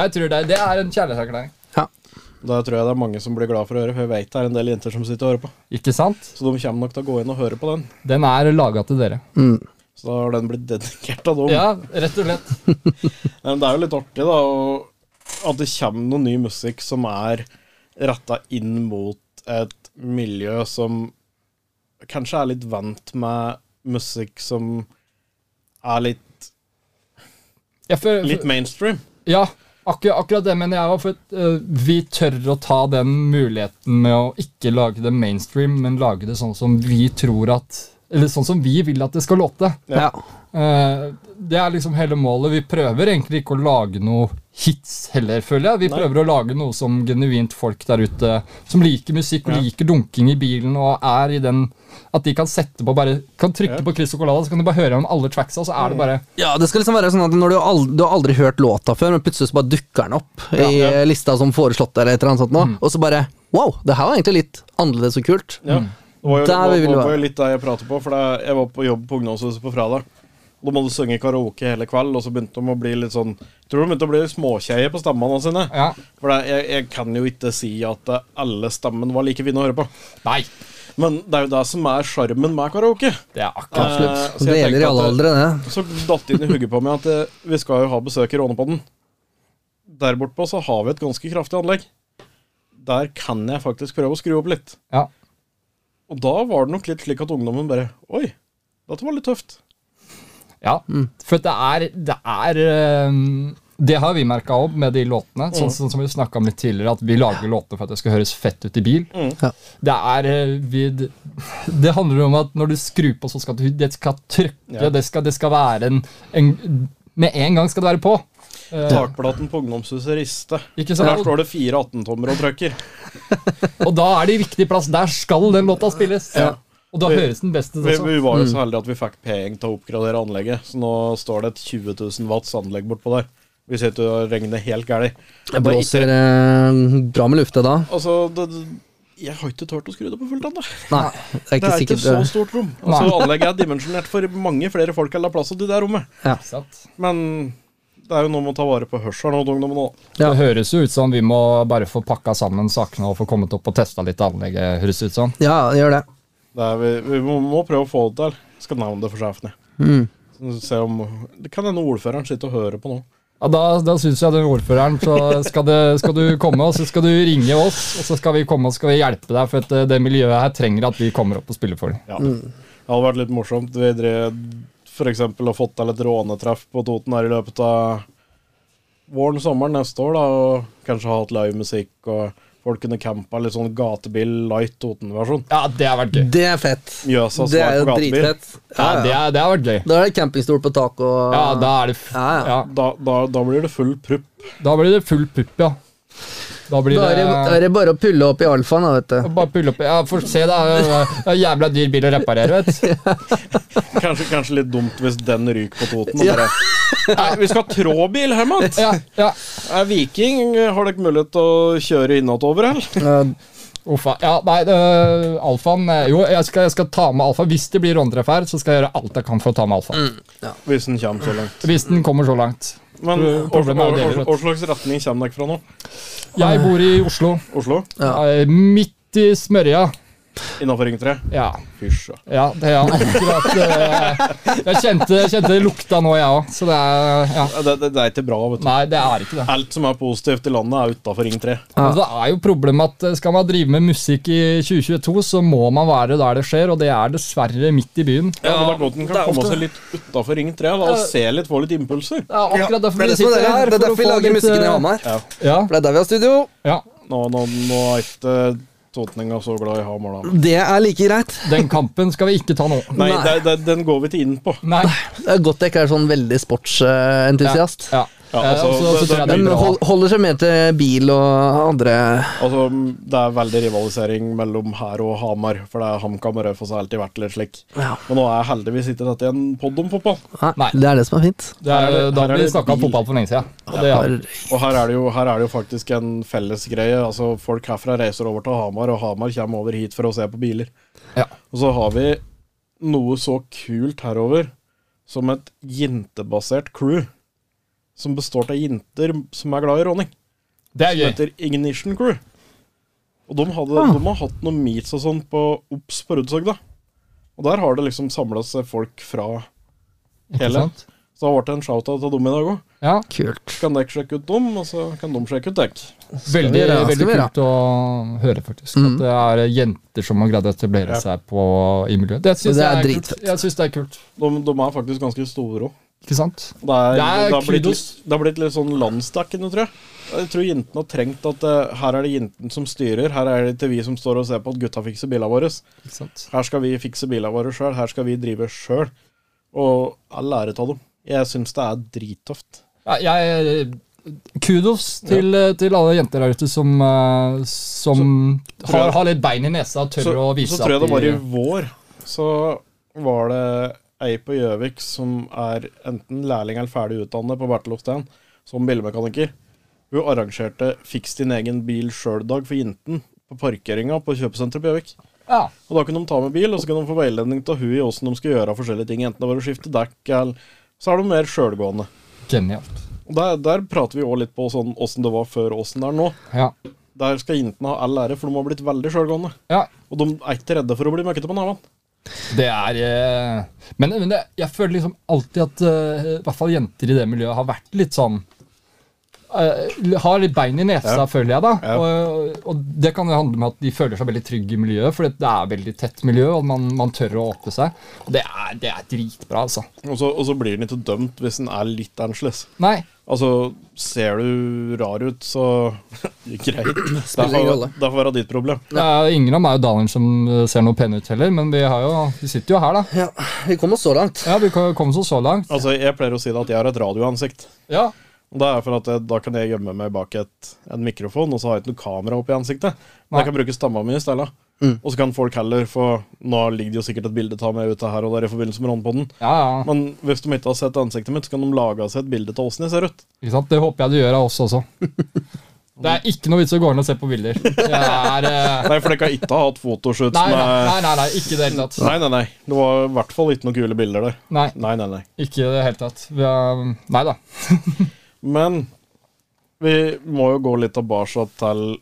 Jeg tror det, det er en kjærlighetserklæring.
Ja.
Der tror jeg det er mange som blir glad for å høre, for jeg vet det er en del jenter som sitter og hører på.
Ikke sant?
Så de kommer nok til å gå inn og høre på den.
Den er laga til dere.
Mm.
Så da har den blitt dedikert av dem.
Ja, rett og slett.
Nei, Men det er jo litt artig, da, å- at det kommer noe ny musikk som er retta inn mot et miljø som kanskje er litt vant med musikk som er litt,
Ja, for,
litt mainstream.
ja akkurat, akkurat det mener jeg òg. For at, eh, vi tør å ta den muligheten med å ikke lage det mainstream, men lage det sånn som vi tror at Eller sånn som vi vil at det skal låte.
Ja.
Eh, det er liksom hele målet. Vi prøver egentlig ikke å lage noe hits heller, føler jeg. Vi
Nei.
prøver å lage noe som genuint folk der ute som liker musikk,
Ja.
liker dunking i bilen og er i den At de kan sette på bare Kan trykke
Ja.
på Chris og Colada, så kan de bare høre om alle tracksa, så er det bare
ja, det skal liksom være sånn at når du, aldri, du har aldri hørt låta før, men plutselig så bare dukker den opp i
ja. Mm.
eh, lista som foreslått eller et eller annet sånt nå, og så bare Wow, det her var egentlig litt annerledes og kult.
Ja. Det var jo,
Mm. Der
det
vil vi
var, var
være.
jo litt det jeg prater på, for det, jeg var på jobb på ungdomshuset på fredag. Da må du synge karaoke hele kveld, og så begynte de å bli litt sånn jeg Tror de begynte å bli småkjeier på stemmene sine.
Ja.
For det, jeg, jeg kan jo ikke si at eh, alle stemmen var like fine å høre på.
Nei!
Men det er jo det som er sjarmen med karaoke.
Det er akkurat
Absolutt.
Eh, så jeg
det gjelder
tenkte
i alle
at-
aldre, det.
Så datt det inn i hugget på meg at eh, vi skal jo ha besøk i Rånepodden. Der bortpå så har vi et ganske kraftig anlegg. Der kan jeg faktisk prøve å skru opp litt.
Ja.
Og da var det nok litt slik at ungdommen bare Oi, dette var litt tøft.
ja.
Mm.
For det er Det er ehm, det har vi merka opp med de låtene.
Mm.
Sånn, sånn som Vi snakket om litt tidligere At vi lager låtene for at det skal høres fett ut i bil.
Mm.
Ja.
Det er eh, vi, <laughs> Det handler om at når du skrur på, så skal du, det skal trykke.
Ja.
Det, skal, det skal være en, en Med en gang skal det være på. Eh,
Takplaten på ungdomshuset riste.
Ikke
For Der
sant?
står det fire 18-tommere og
<laughs>
trøkker.
Og da er det i riktig plass. Der skal den låta spilles. Og da høres den best ut
Vi,
også.
vi var jo så heldige at vi fikk penger til å oppgradere anlegget, så nå står det et 20 000 watts anlegg bortpå der. Vi sitter og regner helt gærent.
Det blåser eh, bra med lufte da.
Altså, det, det- jeg har ikke turt å skru det på fullt ennå.
Nei, det er
Det
ikke
er ikke
sikkert eh,
så stort rom.
Nei.
Altså, Anlegget er dimensjonert for mange flere folk enn det er plass til i det rommet.
Ikke sant?
Men det er jo noe med å ta vare på hørselen og ungdommen òg.
Ja.
Det høres jo ut som vi må bare få pakka sammen sakene og få kommet opp og testa litt anlegget. høres ut som.
Ja, det gjør det.
Vi, vi må, må prøve å få det til. Skal nevne det for sjefen, jeg. Så Se om, det kan hende ordføreren sitter og hører på nå.
Ja, da da syns jeg den ordføreren så skal, det, skal du komme, og så skal du ringe oss, og så skal vi komme og skal vi hjelpe deg, for at eh, det miljøet her trenger at vi kommer opp og spiller for dem.
Ja. Det hadde vært litt morsomt. Vi drev f.eks. og fått til et rånetreff på Toten her i løpet av våren sommeren neste år, da, og kanskje ha hatt livemusikk og folk kunne campa litt sånn gatebil light Toten-versjon.
Ja, det har vært gøy.
Det er fett.
Mjøsa
Det
svar
er
på
jo
gatebil.
dritfett.
Ja, det, er, det har vært gøy.
Da er det campingstol på taket og
Ja, da er det f
Ja, ja.
ja,
Da, da, da blir det full prupp.
Da blir det full pupp, ja. Da blir
Da er det, da
det
er det bare å pulle opp i alfaen, da, vet du.
bare pull opp Ja, for se, da. Det er jævla dyr bil å reparere, vet du.
Kanskje, kanskje litt dumt hvis den ryker på Toten. og Bare. Nei, vi skal ha tråbil, Herman!
Ja, ja.
Er Viking, har dere mulighet til å kjøre innover, eller?
Ja,
Uffa. Ja, nei, det- alfaen eh, Jo, jeg skal, jeg skal ta med alfa. Hvis det blir rånetreff her, så skal jeg gjøre alt jeg kan for å ta med alfa.
Mm.
Hvis den kommer så langt.
Hvis den kommer så langt.
Men
Pro-
hva
problemet er jo delvis at-
slags retning kommer dere fra nå?
Jeg bor i Oslo.
Oslo?
Eh, Midt i smørja.
Innafor Ring 3?
Ja.
Fysj. ja.
ja det er akkurat eh, Jeg kjente, kjente det lukta nå, jeg òg. Så det er ja.
Ja, Det, det, det er ikke bra, vet du.
Nei, det er ikke det.
Alt som er positivt i landet, er utafor Ring 3.
Men det er jo problemet at eh, skal man drive med musikk i 2022, så må man være der det skjer, og det er dessverre midt i byen.
Ja, men da godt den kan komme seg litt utafor Ring 3 da, og se litt, få litt impulser.
Det er akkurat derfor
det
vi
er det som er
sitter
det.
her.
Det
for
er
å
derfor vi
få
lager
litt,
musikken i
eh,
Hamar.
Ja.
Ja,
For det er der vi har studio.
ja,
Nå, nå, nå er ikke totninga så glad i Hamar, da.
Det er like greit.
Den kampen skal vi ikke ta nå.
Nei,
Nei.
det, det, den går vi ikke inn på.
Nei.
Det er godt jeg ikke er sånn veldig sportsentusiast.
Ja.
Ja,
Eh,
altså,
og så- så
det-
tror jeg
det-
det
Men
blir bra.
hold, holder seg mer til bil og andre
Altså, Det er veldig rivalisering mellom her og Hamar, for det er HamKam og Raufoss har alltid vært litt slik.
ja.
Men nå er heldigvis ikke dette en pod om fotball.
Nei,
Nei.
Det er det som er fint.
Det er,
Her er det-
da
her er
har vi
det
snakka om
bil.
fotball for lenge siden. Og det,
Har-
Og her er det jo, her er det jo faktisk en fellesgreie. Altså, folk herfra reiser over til Hamar, og Hamar kommer over hit for å se på biler.
ja.
Og så har vi noe så kult herover som et jentebasert crew. Som består av jenter som er glad i råning.
det
Som
er gøy.
heter Ignition Crew. Og de, hadde,
Ah.
de har hatt noen meets og sånn på Ops på Rudshøg, da. Og der har det liksom samla seg folk fra
Ikke
Hele.
sant?
Så det har vært en shout-out til dem i dag òg.
Ja,
Kult.
Kan dere sjekke ut dem, og så kan de sjekke ut dere.
Veldig,
vi gjøre,
veldig
skal vi gjøre.
kult å høre, faktisk. At det er jenter som har greid å etablere
Ja.
seg på, i miljøet. Det syns
Det
jeg
er
er kult.
dritfett.
Jeg synes det er kult.
De, de er faktisk ganske store òg.
Ikke sant?
Det, er, det,
Det er
har blitt,
kudos.
litt- det har blitt litt sånn landsdekkende, tror jeg. Jeg tror jentene har trengt at eh, her er det jentene som styrer, her er det ikke vi som står og ser på at gutta fikser bilene våre.
Ikke sant?
Her skal vi fikse bilene våre sjøl, her skal vi drive sjøl. Og all ære av dem. Jeg syns det er drittøft.
Ja, jeg, kudos til, eh, til alle jenter der ute som, eh, som
tror
har,
jeg-
har litt bein i nesa og tør
Så,
å vise
så tror jeg det
at
var
de
i vår, så var det ei på Gjøvik som er enten lærling eller ferdig utdannet på Bertelhofsten som bilmekaniker. Hun arrangerte Fiks din egen bil sjøl-dag for jenten på parkeringa på kjøpesenteret på Gjøvik.
ja,
Og da kunne de ta med bil, og så kunne de få veiledning av hun i åssen de skal gjøre forskjellige ting. Enten det var å skifte dekk, eller så er de mer sjølgående.
Genialt.
Og Der, der prater vi òg litt på sånn åssen det var før, og åssen det er nå.
Ja.
Der skal jentene ha all ære, for de har blitt veldig sjølgående.
ja.
Og de er ikke redde for å bli møkkete på nevene.
Det er eh, Men, men det, jeg føler liksom alltid at eh, i hvert fall jenter i det miljøet har vært litt sånn eh, har litt bein i nesa, føler jeg. da
Ja.
og, og det kan jo handle om at de føler seg veldig trygge i miljøet, for det er veldig tett miljø, og man, man tør å åpne seg. Og Det er, det er dritbra, altså.
Og så, og så blir den ikke dømt hvis den er litt annerledes.
Nei,
Altså, ser du rar ut, så greit.
Spiller ingen rolle.
Det får være ditt problem.
det er, ingen av meg og Daniel som eh, ser noe pene ut heller, men vi, har jo, vi sitter jo her, da.
Ja, vi kom oss så langt.
Ja, Vi kom kom så, så langt.
Altså, Jeg pleier å si det at jeg har et radioansikt.
Ja,
Og Det er for at jeg, Da kan jeg gjemme meg bak et, en mikrofon, og så har jeg ikke noe kamera oppi ansiktet. Men
Nei.
jeg kan bruke stamma mi i stedet. Og så kan folk heller få Nå ligger det jo sikkert et bilde av meg ute her og der i forbindelse med Rånpodden.
ja, ja.
Men hvis de ikke har sett ansiktet mitt, så kan de lage seg et bilde av åssen jeg ser ut.
Ikke sant? Det håper jeg du gjør av oss <laughs> også. Det er ikke noe vits å gå inn og se på bilder. Det er, eh, <laughs>
Nei, for dere kan ikke ha hatt fotoshoots
Nei, nei,
med
nei, nei, nei, ikke i det hele tatt.
Nei, nei, nei. Det var i hvert fall ikke noen kule bilder der.
Nei,
Nei, nei, nei.
ikke i det hele tatt. Vi er, nei da.
Men vi må jo gå litt tilbake til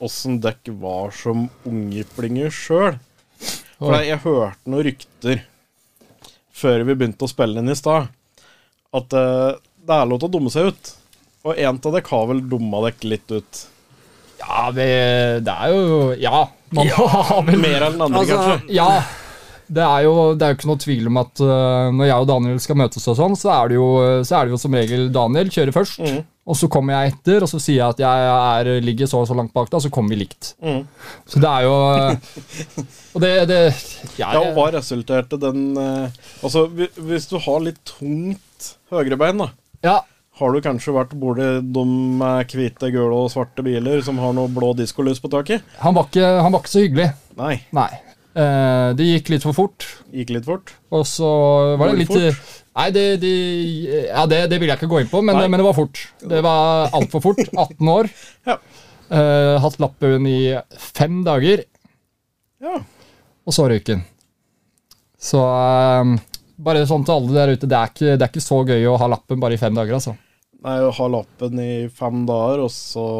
åssen dekk var som ungjyplinger sjøl. For jeg hørte noen rykter før vi begynte å spille inn i stad, at eh, det er lov til å dumme seg ut. Og en av dere har vel dumma dere litt ut.
Ja, vi, det er jo Ja. Man har vel
Mer enn den andre,
Altså-
kanskje.
Ja. Det er, jo, det er jo ikke noe tvil om at eh, når jeg og Daniel skal møtes, og sånn, så er det jo, så er det jo som regel Daniel kjører først.
Mm.
Og så kommer jeg etter, og så sier jeg at jeg er, ligger så og så langt bak deg, og så kommer vi likt.
Mm.
Så det er jo Og det, det
Ja, og hva resulterte den eh, Altså, hvi- hvis du har litt tungt høyrebein, da,
ja,
har du kanskje vært borti de med hvite, gule og svarte biler som har noe blå diskolys på taket?
han, var ikke, han var ikke så hyggelig.
Nei.
Nei. Eh, det gikk litt for fort,
Gikk litt fort.
og så var det litt eh,
Hvor
Nei, det, det, ja, det, det vil jeg ikke gå inn på, men,
Nei.
men det var fort. Det var altfor
<laughs>
fort. 18 år.
Ja.
Eh, hatt lappen i fem dager,
ja.
og så røyken. Så eh, bare sånn til alle der ute, det er, ikke, det er ikke så gøy å ha lappen bare i fem dager, altså.
Nei, å ha lappen i fem dager, og så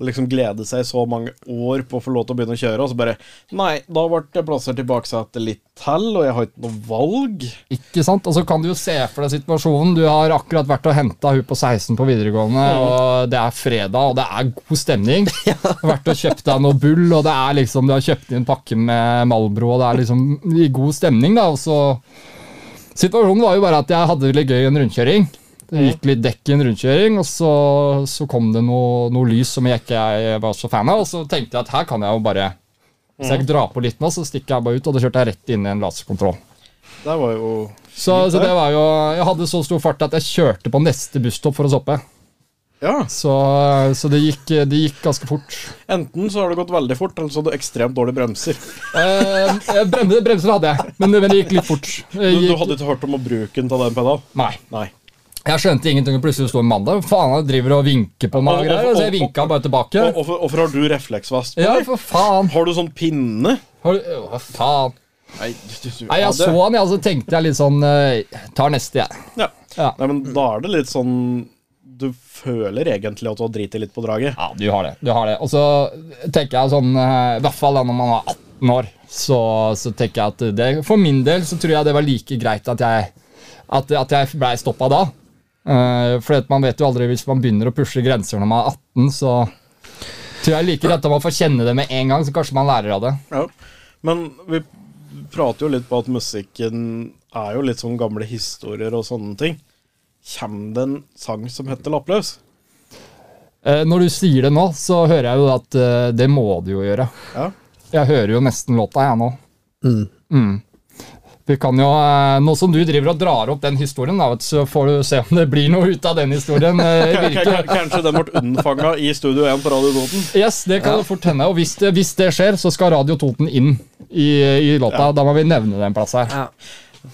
liksom glede seg så mange år på å få lov til å begynne å kjøre, og så bare Nei, da ble jeg plassert i baksetet litt til, og jeg har ikke noe valg.
Ikke sant? Og så kan du jo se for deg situasjonen. Du har akkurat vært og henta hun på 16 på videregående, og det er fredag, og det er god stemning. Du har vært og kjøpt deg noe bull, og det er liksom, du har kjøpt inn en pakke med Malbro, og det er liksom i god stemning, da. Og så Situasjonen var jo bare at jeg hadde det litt gøy i en rundkjøring. Det gikk litt dekk i en rundkjøring, og så, så kom det noe, noe lys som jeg ikke jeg var så fan av, og så tenkte jeg at her kan jeg jo bare Hvis jeg drar på litt nå, så stikker jeg bare ut, og da kjørte jeg rett inn i en laserkontroll.
Det var jo
Så, så det var jo Jeg hadde så stor fart at jeg kjørte på neste busstopp for å stoppe.
Ja.
Så, så det, gikk, det gikk ganske fort.
Enten så har det gått veldig fort, eller så har du ekstremt dårlige bremser.
Eh, eh, bremser, bremser hadde jeg, men, men det gikk litt fort. Jeg,
Du, du
gikk,
hadde ikke hørt om å bruke den til den pedal?
nei,
Nei.
jeg skjønte ingenting. og Plutselig sto en mann der. Faen, han driver og vinker på meg. og greier, Så jeg vinka bare tilbake.
Og- Hvorfor hvorfor har du refleksvest på
Ja,
deg?
for faen.
Har du sånn pinne?
Har du- Hva faen?
Nei, du, du,
Nei,
ja,
jeg
det-
så han, ja, og så tenkte jeg litt sånn eh, Tar neste, jeg.
Ja.
Ja.
Nei, men da er det litt sånn du føler egentlig at du har driti litt på draget.
Ja, du har det. du har det. Og så tenker jeg sånn, eh, i hvert fall da når man var 18 år, så, så tenker jeg at det, for min del så tror jeg det var like greit at jeg, at, at jeg blei stoppa da. Eh, for at man vet jo aldri hvis man begynner å pushe grenser når man er 18, så tror jeg like greit at man får kjenne det med en gang, så kanskje man lærer av det.
Ja. Men vi prater jo litt på at musikken er jo litt sånn gamle historier og sånne ting. Kjem det en sang som heter Lappløs?
Eh, når du sier det nå, så hører jeg jo at eh, det må du jo gjøre.
Ja.
Jeg hører jo nesten låta, jeg nå. Mm. Vi kan jo, eh, Nå som du driver og drar opp den historien, da, vet, du, så får du se om det blir noe ut av den historien.
<laughs>
eh,
K-
virker-
k- Kanskje den ble unnfanga i Studio 1 på Radio Toten?
Yes, det kan det fort hende. Og hvis det, hvis det skjer, så skal Radio Toten inn i, i låta. Da må vi nevne den plass her.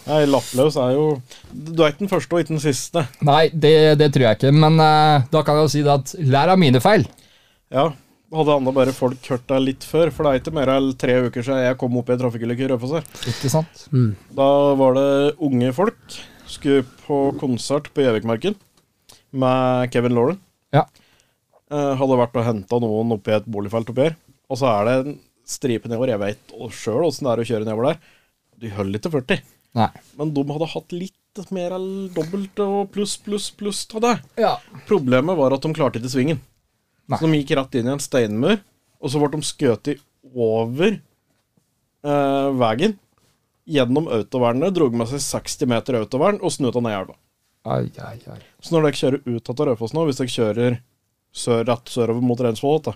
Nei, Lappløs er jo Du er ikke den første og ikke den siste.
Nei, det, det tror jeg ikke. Men eh, da kan jeg jo si det at lær av mine feil.
Ja. Hadde enda bare folk hørt deg litt før, for det er ikke mer enn tre uker siden jeg kom opp i en trafikkulykke i Raufoss. her.
Ikke sant?
Da var det unge folk. Skulle på konsert på Gjøvikmarken med Kevin Lauren.
Ja.
Eh, hadde vært og henta noen oppi et boligfelt oppi her. Og så er det en stripe nedover. Jeg veit sjøl åssen det er å kjøre nedover der. De holder ikke 40.
Nei.
Men de hadde hatt litt mer enn dobbelt og pluss, pluss, pluss av det.
Ja.
Problemet var at de klarte ikke svingen.
Nei.
Så de gikk rett inn i en steinmur, og så ble de skutt i over eh, veien. Gjennom autovernet, drog med seg 60 meter autovern og snudde ned i elva.
Ai, ai, ai.
Så når dere kjører ut av Raufoss nå, hvis dere kjører sør, rett sørover mot Reinsvoll, da,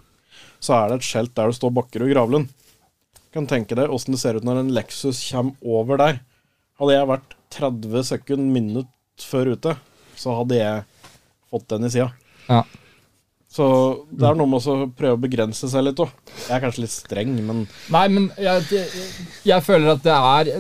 så er det et skjelt der det står Bakkerud Gravlund. Kan tenke deg åssen det ser ut når en Lexus kommer over der. Hadde jeg vært 30 sekunder, minutt før ute, så hadde jeg fått den i sida.
Ja.
Så det er noe med å prøve å begrense seg litt òg. Jeg er kanskje litt streng, men
Nei, men jeg, jeg, jeg føler at det er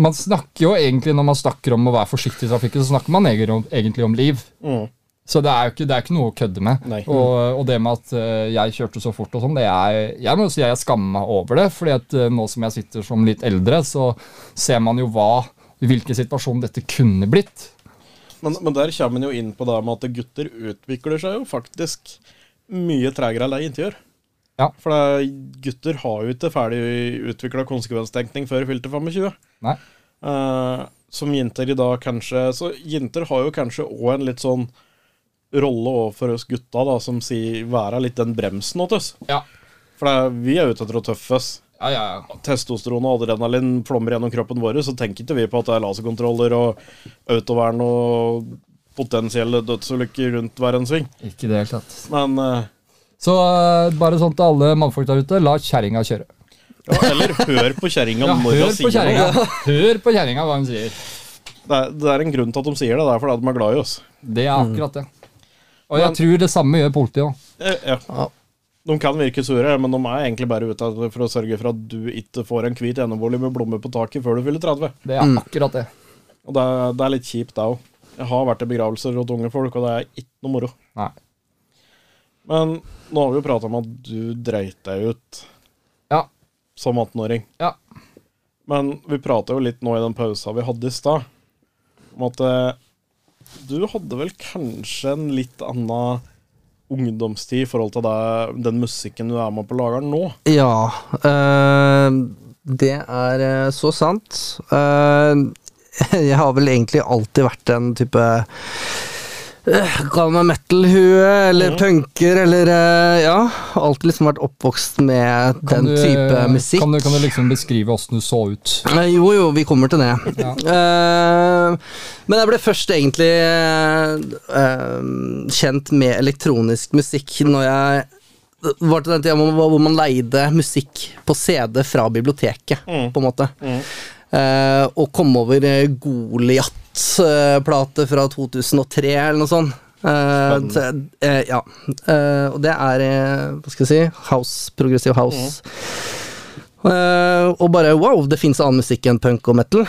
Man snakker jo egentlig når man snakker om å være forsiktig i trafikken, så snakker man egentlig om, egentlig om liv.
mm,
Så det er jo ikke, det er ikke noe å kødde med.
Nei.
Og, og det med at eh, jeg kjørte så fort og sånn, det er Jeg må jo si jeg skammer meg over det, fordi at eh, nå som jeg sitter som litt eldre, så ser man jo hva Hvilken situasjon dette kunne blitt.
men, men der kommer en jo inn på det med at gutter utvikler seg jo faktisk mye tregere enn det jenter gjør.
Ja.
For det, er- gutter har jo ikke ferdig utvikla konsekvenstenkning før de fylte 25.
Nei.
Eh, som jenter i dag kanskje Så jenter har jo kanskje òg en litt sånn rolle overfor oss gutta, da, som sier 'være litt den bremsen åt oss'.
Ja.
For det, er- vi er ute etter å tøffe oss.
Ja, ja, ja.
testosteron og adrenalin flommer gjennom kroppen vår, så tenker ikke vi på at det er laserkontroller og autovern og potensielle dødsulykker rundt hver en sving.
Ikke i det hele tatt.
Men eh,
Så eh, bare sånn til alle mannfolk der ute, la kjerringa kjøre.
ja, Eller hør på kjerringa
<laughs> Ja,
når hun
hør på
sier
kjerringa.
noe.
Hør på kjerringa hva hun sier.
Det er, det er en grunn til at de sier det. Det er fordi at de er glad i oss.
Det er
Mm.
akkurat det. Og jeg tror det samme gjør politiet òg.
Eh, Ja.
Ja.
De kan virke sure, men de er egentlig bare ute etter for å sørge for at du ikke får en hvit enebolig med blomster på taket før du fyller 30.
Det
Mm.
er akkurat det.
Og det er, det er litt kjipt, det òg. Jeg har vært i begravelser hos unge folk, og det er ikke noe moro.
Nei.
Men nå har vi jo prata om at du dreit deg ut
Ja.
som 18-åring.
Ja.
Men vi prata jo litt nå i den pausa vi hadde i stad, om at eh, du hadde vel kanskje en litt annen ungdomstid i forhold til det, den musikken du er med på lager nå.
Ja. eh, det er eh, så sant. Eh, <laughs> jeg har vel egentlig alltid vært en type eh, Kall meg metal-hue, eller punker, eller eh, Ja. Alltid liksom vært oppvokst med
Kan
den
du-
type musikk.
Kan du, kan du liksom beskrive åssen du så ut?
Eh, Jo, jo, vi kommer til det. Eh, men jeg ble først egentlig eh, eh, kjent med elektronisk musikk når jeg det var til den tida hvor hvor man leide musikk på CD fra biblioteket, på en måte. Eh, og kom over eh, Goliat-plate fra 2003, eller noe sånt. Eh, så, eh, ja. Eh, og det er, eh, hva skal jeg si, house, progressive house. Eh, og bare wow, det fins annen musikk enn punk og metal.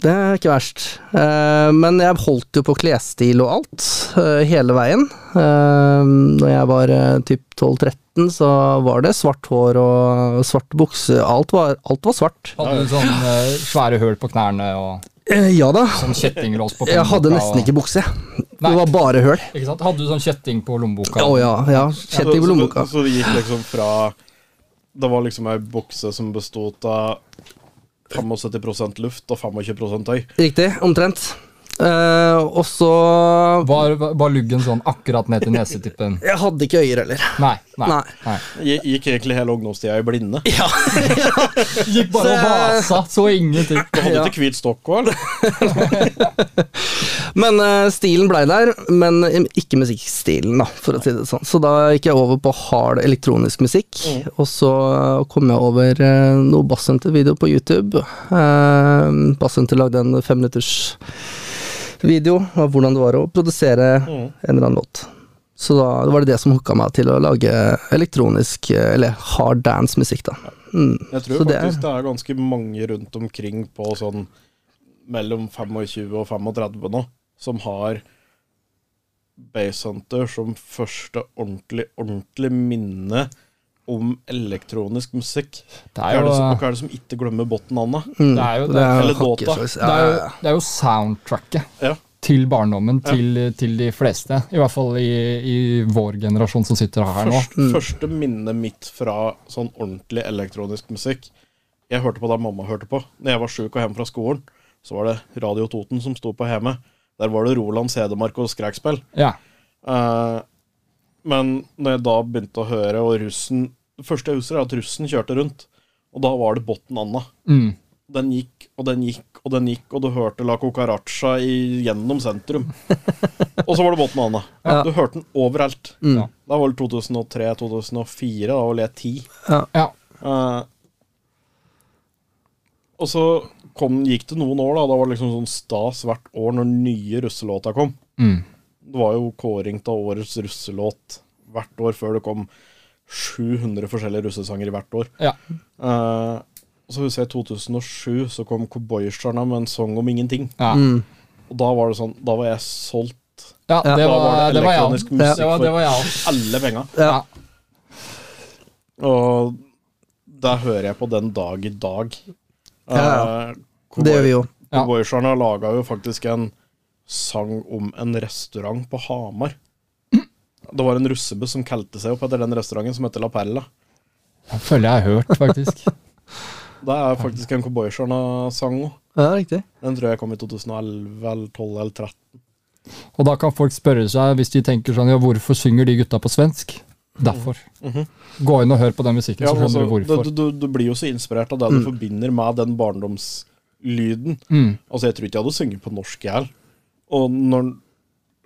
Det er ikke verst. Eh, men jeg holdt jo på klesstil og alt, eh, hele veien. Uh, når jeg var uh, typ 12-13, så var det svart hår og svarte bukser. Alt var, alt var svart.
Hadde du sånn eh, svære høl på knærne og
Eh, ja da.
sånn kjettinglås på
<laughs> Jeg hadde
panneboka
nesten
og-
ikke bukse.
Nei.
Det var bare høl.
Ikke sant? Hadde du sånn kjetting på lommeboka?
Å ja, ja. Kjent
Så-
i
så-
lommeboka.
Så det gikk liksom fra Det var liksom ei bokse som bestod av 75 luft og 25 tøy.
Riktig. Omtrent. Eh, og så
Var, var luggen sånn akkurat ned til nesetippen?
Jeg hadde ikke øyer heller.
Nei. nei,
Nei. <laughs>
nei.
Gikk gikk egentlig hele ungdomstida i blinde. Du
Gikk bare og vasa, så ingenting.
hadde
Ja.
ikke hvit stokk òg, eller?
Men eh, stilen blei der, men ikke musikkstilen, da, for å si det sånn. Så da gikk jeg over på hard elektronisk musikk,
Mm.
og så kom jeg over eh, noe Bassenter-video på YouTube. Eh, Bassenter lagde en femminutters video av hvordan det var å produsere
Mm.
en eller annen låt. Så da var det det som hooka meg til å lage elektronisk, eh, eller hard dance-musikk, da. Mm.
Jeg tror
Så det er-
faktisk det er ganske mange rundt omkring på sånn mellom 25 og 35 nå, som har Basehunter som første ordentlig, ordentlig minne om elektronisk musikk.
Det
Hva
er
er
jo,
det som, hva er det som ikke glemmer botten, Anna?
Mm.
Det er
<laughs>
jo-
eller låta.
hakkeslags.
det er jo, det er jo soundtracket
Ja.
til barndommen til, til de fleste. I hvert fall i, i vår generasjon som sitter her nå.
Først,
Mm.
Første minnet mitt fra sånn ordentlig elektronisk musikk Jeg hørte på det mamma hørte på. Når jeg var sjuk og hjemme fra skolen, så var det Radio Toten som sto på hjemme. Der var det Roland Sedemark og skrekkspill.
Ja.
Eh, men når jeg da begynte å høre, og russen Det første jeg husker, er at russen kjørte rundt. Og da var det Botten Anna.
Mm.
Den gikk og den gikk og den gikk, og du hørte La Cucaracha i- gjennom sentrum. og så var det Botten Anna. Du hørte den overalt.
Mm.
Da var det 2003-2004, da var vel jeg ti.
ja.
Eh, og så kom, gikk det noen år, da. Da var det liksom sånn stas hvert år når nye russelåta kom.
Mm.
Det var jo kåring av årets russelåt hvert år før det kom 700 forskjellige russesanger hvert år.
ja.
Eh, og så husker jeg i 2007 så kom Cowboystjerna med en sang om ingenting.
ja.
Og da var det sånn, da var jeg solgt
Ja, det
Da
var,
var det
det var jeg.
elektronisk musikk
Det var, det var jeg. også.
alle penga.
Ja.
Og da hører jeg på den dag i dag. Eh,
Ja, Det gjør vi jo.
Ja.
Cowboystjerna laga jo faktisk en sang om en restaurant på Hamar. Det var en russebuss som kalte seg opp etter den restauranten, som heter La Perla.
Jeg føler jeg har hørt,
<laughs>
faktisk.
Det er faktisk en Cowboystjerna-sang òg.
Ja, riktig.
Den tror jeg kom i 2011 eller 12 eller 13.
Og da kan folk spørre seg, hvis de tenker sånn, ja, hvorfor synger de gutta på svensk? Derfor. Gå inn og hør på den musikken,
Mm-hmm. Ja, men altså,
så skjønner du
du,
hvorfor.
du, du blir jo så inspirert av det du forbinder med den barndomslyden.
Mm.
Altså, jeg tror ikke jeg hadde sunget på norsk, jeg heller. Og når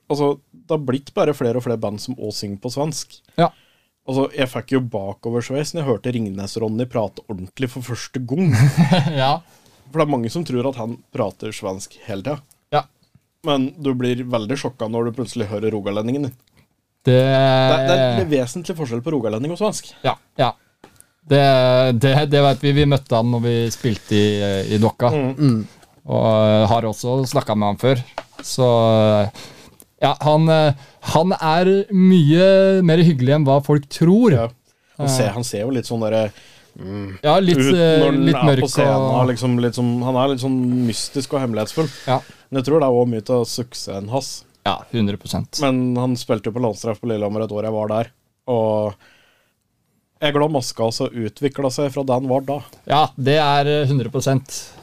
Altså, det har blitt bare flere og flere band som òg synger på svensk.
Ja. <laughs>
Altså, jeg fikk jo bakoversveis når jeg hørte Ringnes-Ronny prate ordentlig for første
<laughs>
gang.
ja.
For det er mange som tror at han prater svensk hele tida.
ja.
Men du blir veldig sjokka når du plutselig hører rogalendingen din.
Det,
Det, det
Eh.
er en vesentlig forskjell på rogalending og svensk.
Ja. ja. Det, det, det vet vi. Vi møtte han når vi spilte i, i Dokka.
Mm.
Og eh, har også snakka med han før. Så eh, ja, han, eh, han er mye mer hyggelig enn hva folk tror.
Ja. Han,
Eh.
ser, han ser jo litt sånn derre
Ja, litt,
ut
eh,
når han
litt
er
mørk
på scenen.
og
Liksom, litt sånn- han er litt sånn mystisk og hemmelighetsfull.
ja.
Men jeg tror det er også mye av suksessen hans.
ja, 100
Men han spilte jo på landstreff på Lillehammer et år jeg var der, og jeg er glad maska hans har utvikla seg fra det han var da.
Ja, det er eh, 100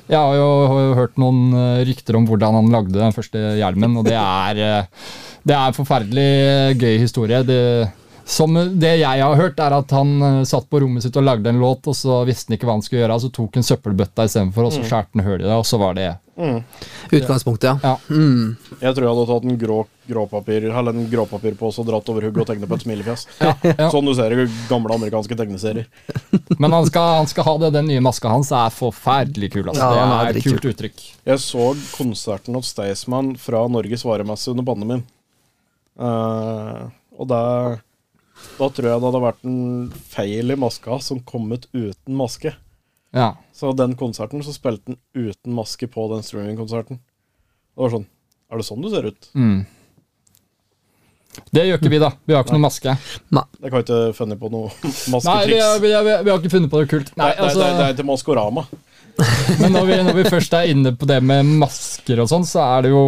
Jeg har jo har jo hørt noen eh, rykter om hvordan han lagde den første hjelmen, og det er, eh, det er en forferdelig eh, gøy historie. Det, som eh, det jeg har hørt, er at han eh, satt på rommet sitt og lagde en låt, og så visste han ikke hva han skulle gjøre, og så tok han søppelbøtta istedenfor, og
Mm.
så skjærte han hull i det, og så var det
Utgangspunktet, ja.
Ja.
Jeg tror jeg hadde tatt en grå, gråpapir, eller en gråpapirpose og dratt over hodet og tegnet på et smilefjes.
ja.
Sånn du ser i gamle amerikanske tegneserier.
Men han skal, han skal ha det. Den nye maska hans er forferdelig kul. Altså.
Ja,
det
den er
er et
dritkul.
kult uttrykk.
Jeg så konserten av Staysman fra Norges varemesse under pandemien. Eh, og da, da tror jeg det hadde vært en feil i maska som kommet uten maske.
Ja.
Så den konserten så spilte han uten maske på den streamingkonserten. Det var sånn Er det sånn du ser ut?
Mm. Det gjør ikke vi, da. Vi har ikke noe maske.
Jeg kan ikke finne på noe <laughs>
Nei, vi,
masketriks.
vi, vi, vi har ikke funnet på noe kult. Nei,
Nei, det,
altså,
det, det er til Maskorama.
Men når vi, når vi først er inne på det med masker og sånn, så er det jo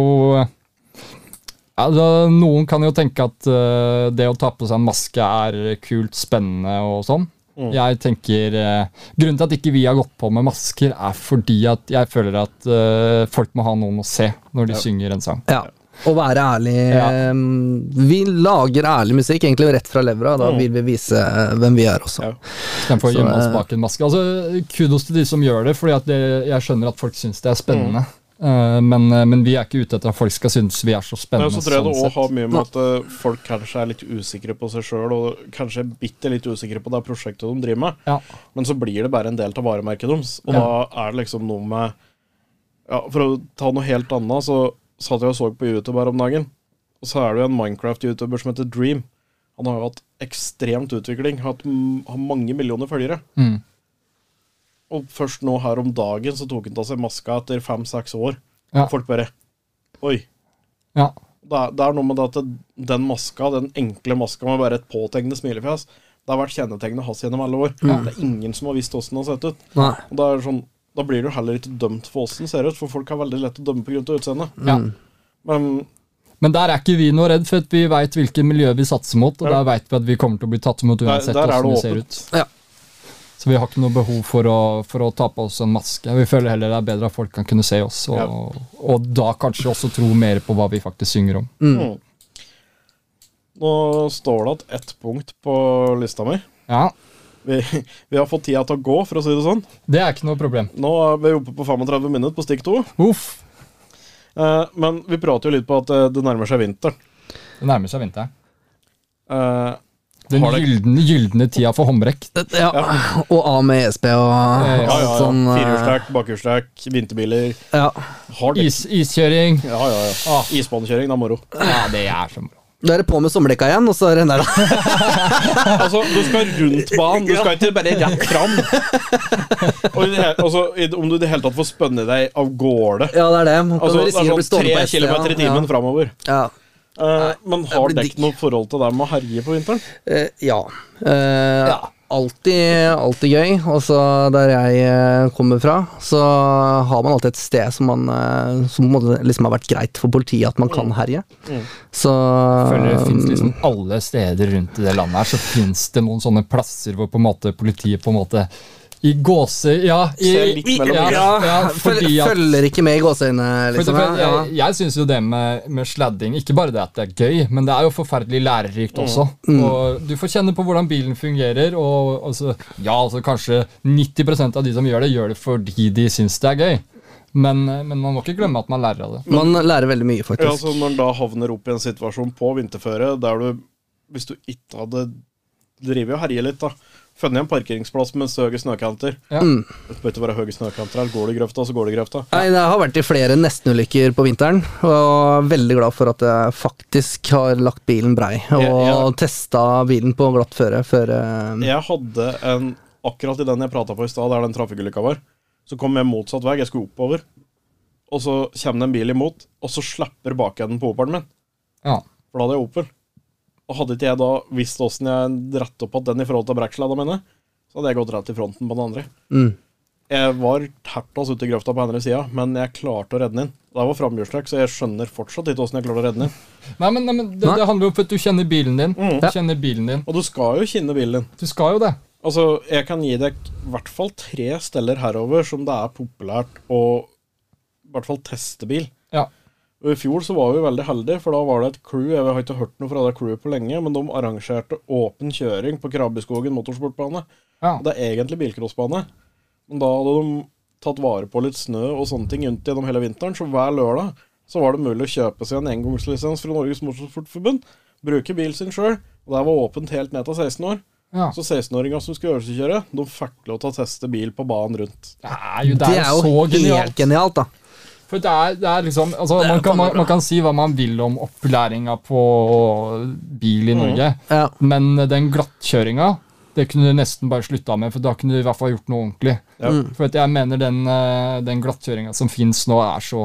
Altså, noen kan jo tenke at eh, det å ta på seg en maske er kult, spennende og sånn.
Mm.
Jeg tenker eh, Grunnen til at ikke vi har gått på med masker, er fordi at jeg føler at eh, folk må ha noen å se når de synger en sang.
Ja. Å være ærlig.
Ja.
ehm, Vi lager ærlig musikk, egentlig rett fra levra. Da vil vi vise eh, hvem vi er også.
Ja.
Istedenfor å
Så,
gjemme oss
eh,
bak en maske. Altså, kudos til de som gjør det, for jeg skjønner at folk syns det er spennende. Eh, men, eh, men vi er ikke ute etter at folk skal synes vi er så
Men
spennende.
så tror jeg det
sånn
også
sett.
har mye med at eh, folk kanskje er litt usikre på seg sjøl, og kanskje er bitte litt usikre på det prosjektet de driver med.
Ja.
Men så blir det bare en del av varemerket deres, og da er det liksom noe med ja, For å ta noe helt annet, så satt jeg og så på YouTube her om dagen, og så er det jo en Minecraft-YouTuber som heter Dream. Han har jo hatt ekstremt utvikling, hatt m- har mange millioner følgere.
Mm.
Og først nå her om dagen så tok han av seg maska etter fem-seks år.
Ja.
Folk bare Oi.
Ja.
Det er, det er noe med det at det, den maska, den enkle maska med bare et påtegnende smilefjes, det har vært kjennetegnet hans gjennom alle år. Det er ingen som har visst åssen han har sett ut.
Nei.
Og da, er det sånn, da blir du heller ikke dømt for åssen ser ut, for folk har veldig lett å dømme pga. utseendet.
Ja.
Mm.
Men
Men der er ikke vi noe redd, for at vi veit hvilke miljø vi satser mot. Og
Ja.
der veit vi at vi kommer til å bli tatt imot
der,
uansett
der er
hvordan
det
vi ser ut.
åpent.
Ja.
Så vi har ikke noe behov for å, for å ta på oss en maske. Vi føler heller det er bedre at folk kan kunne se oss, og, og da kanskje også tro mer på hva vi faktisk synger om.
Mm. Nå står det igjen ett punkt på lista mi.
Ja,
Vi, <laughs> vi har fått tida til å gå, for å si det sånn.
Det er ikke noe problem.
Nå er vi oppe på 35 minutter på stikk to.
Uff,
Eh, men vi prater jo litt på at eh, det nærmer seg vinter.
det nærmer seg vinteren.
Eh,
Den
Har det-
gyldne, gyldne tida for håndbrekk.
Ja. Og A med ESP og
ja,
ja, ja, ja.
alt sånn. eh,
Firehjulstrekk, bakhjulstrekk, vinterbiler.
Ja.
Har det.
Is, iskjøring.
Ja, ja, ja.
Ah.
Isbanekjøring, det er moro.
Ja, det er så bra.
Da er det på med sommerdekka igjen, og så er det den der.
Altså, du skal rundt banen, du skal ikke bare rett fram. Og i det hele, altså, i det- om du i det hele tatt får spønne deg av gårde.
Ja, det er det. Man kan
Altså,
risikere
det er
å bli
sånn
stående på
tre
ett sted,
kilometer i timen
Ja.
framover.
Ja.
Eh, men har
det
dekk
blir digg.
noe forhold til det med å herje på vinteren?
Eh, ja. Eh, Alltid, alltid gøy. Og så der jeg eh, kommer fra, så har man alltid et sted som, man, eh, som må, liksom har vært greit for politiet at man
Mm.
kan herje. Så eh,
Føler det finnes liksom alle steder rundt i det landet her, så fins det noen sånne plasser hvor på en måte politiet på en måte i gåse... Ja, i,
Ser litt mellom
ja,
ja,
<laughs>
ja,
<laughs>
fordi
følger,
at
følger ikke med i gåseøynene,
For
liksom.
for
Ja.
jeg jeg syns jo det med, med sladding Ikke bare det at det er gøy, men det er jo forferdelig
Mm.
lærerikt også. Og du får kjenne på hvordan bilen fungerer, og, og så, ja, altså kanskje 90 av de som gjør det, gjør det fordi de syns det er gøy. Men, men man må ikke glemme at man lærer av det.
Man lærer veldig
Ja,
mye, faktisk.
altså, når en da havner opp i en situasjon på vinterføre der du, hvis du ikke hadde drevet og herjet litt, da funnet en parkeringsplass med høye snøkanter
Ja.
Mm.
Det bør ikke være høye snøkanter her. Går det i grøfta, så går det i grøfta.
Nei, det har vært i flere nestenulykker på vinteren, og jeg er veldig glad for at jeg faktisk har lagt bilen brei, og
Ja, ja.
testa bilen på glatt føre før eh,
Jeg hadde en Akkurat i den jeg prata på i stad, der den trafikkulykka var, så kom jeg motsatt vei. Jeg skulle oppover. Og så kommer det en bil imot, og så slipper bakenden på Opelen min.
Ja.
For da hadde jeg Opel. Og hadde ikke jeg da visst åssen jeg dratt opp at den i forhold til brekkslada mine, så hadde jeg gått rett i fronten på den andre.
Mm.
Jeg var tertas ute i grøfta på andre sida, men jeg klarte å redde den inn. Det var framhjulstrekk, så jeg skjønner fortsatt ikke åssen jeg klarte å redde den inn.
Nei, men, nei, men det,
Nei. Mm.
det handler jo om at du kjenner bilen din. Du kjenner bilen din.
Og du skal jo kinne bilen din.
Du skal jo det.
Altså, jeg kan gi deg i hvert fall tre steller herover som det er populært å i hvert fall teste bil.
Ja.
Og I fjor så var vi veldig heldige, for da var det et crew Jeg har ikke hørt noe fra det crewet på lenge, men de arrangerte åpen kjøring på Krabbeskogen motorsportbane.
Ja.
Og Det er egentlig bilcrossbane, men da hadde de tatt vare på litt snø og sånne ting rundt gjennom hele vinteren, så hver lørdag så var det mulig å kjøpe seg en engangslisens fra Norges Motorsportforbund, bruke bilen sin sjøl, og det her var åpent helt ned til 16 år.
Ja.
Så 16-åringer som skulle øvelseskjøre, de fikk lov til å teste bil på banen rundt.
Det er jo,
Det er jo
så
helt genialt, da.
For det er, det er liksom altså, man, kan, man, man kan si hva man vil om opplæringa på bil i Norge,
Ja.
men den glattkjøringa det kunne du nesten bare slutta med, for da kunne du i hvert fall gjort noe ordentlig.
Ja.
For at jeg mener den, eh, den glattkjøringa som fins nå, er så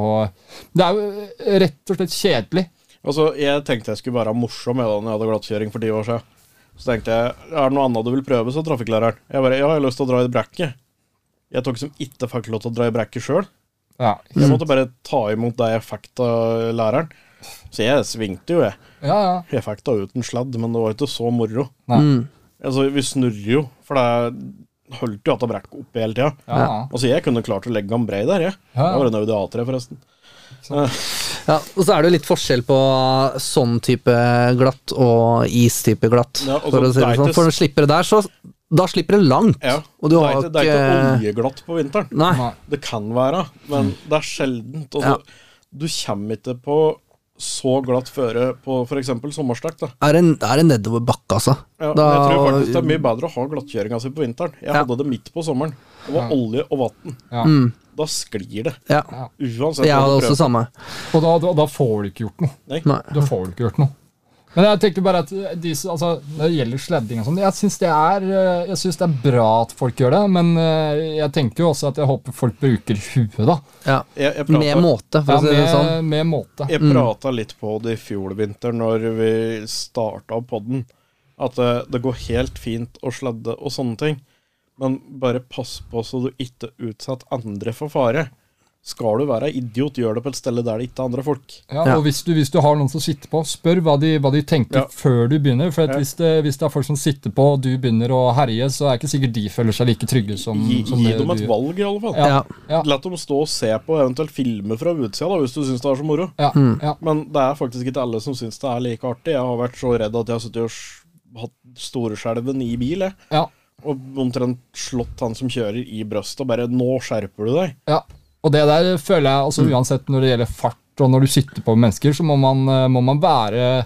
Det er jo rett og slett kjedelig.
Altså, Jeg tenkte jeg skulle være morsom jeg, da når jeg hadde glattkjøring for ti år siden. Så tenkte jeg er det noe annet du vil prøve, sa trafikklæreren. Jeg bare ja, jeg har lyst til å dra i brekket. Jeg tok som ikke fikk lov til å dra i brekket sjøl.
Ja.
Jeg måtte bare ta imot det jeg fikk av læreren. Så jeg svingte jo, jeg.
Ja, ja.
Jeg fikk da ut en sladd, men det var ikke så moro.
Nei.
Altså, vi snurrer jo, for det holdt jo at det brekk opp hele tida.
Ja, ja.
Altså, jeg kunne klart å legge han brei der, jeg.
Ja.
Det var en Audi A3, forresten.
Ja, og så er det jo litt forskjell på sånn type glatt og istype glatt,
Ja, og så
for å si
det
det
er
sånn.
ikke-
For når du slipper det der, så Da slipper det langt.
Ja.
Og du
det,
har
er
jo
ikke, det er ikke oljeglatt på vinteren.
Nei. Mm.
Nei.
Det kan være, men det er sjeldent. Altså, Du kommer ikke på så glatt føre på f.eks. sommerstrekk. Da.
Er det, er det nedover bakke, altså?
Ja,
Da- Mm.
men jeg tror faktisk det er mye bedre å ha glattkjøringa si på vinteren. Jeg
Ja.
hadde det midt på sommeren. Det var olje og vann.
Ja. Mm.
Da sklir det.
Ja.
Uansett.
Jeg
hva du
hadde
prøver.
også samme.
Og da, da, da får du ikke gjort noe.
Nei.
Nei.
Da får du ikke gjort noe. Men jeg tenkte bare at de, som- altså, når det gjelder sledding og sånn, jeg syns det, er, eh, jeg synes det er bra at folk gjør det, men eh, jeg tenker jo også at jeg håper folk bruker huet, da.
Ja.
Jeg, jeg pratet-
Med måte, for
Ja,
å si det
med,
sånn.
med måte.
Jeg prata litt på det i fjor vinter når vi starta podden, at det, det går helt fint å sladde og sånne ting, men bare pass på så du ikke utsetter andre for fare. Skal du være idiot, gjør det på et sted der det ikke er andre folk.
Ja,
Ja.
og hvis du, hvis du har noen som sitter på, spør hva de, hva de tenker
Ja.
før du begynner. For at
Ja.
hvis, det, hvis det er folk som sitter på, og du begynner å herje, så er ikke sikkert de føler seg like trygge som,
Gi,
som
gi
det
dem et
du gjør.
valg, i alle fall.
Ja.
Ja.
Ja.
La dem stå og se på, eventuelt filme fra utsida, da, hvis du syns det er så moro.
Ja,
Mm.
ja.
Men det er faktisk ikke alle som syns det er like artig. Jeg har vært så redd at jeg har sittet og s- hatt storeskjelven i bil, jeg.
ja,
Og omtrent slått han som kjører i brøstet og bare 'Nå skjerper du deg'.
ja. Og det der føler jeg
Mm.
altså uansett når det gjelder fart og når du sitter på mennesker, så må man, eh, må man være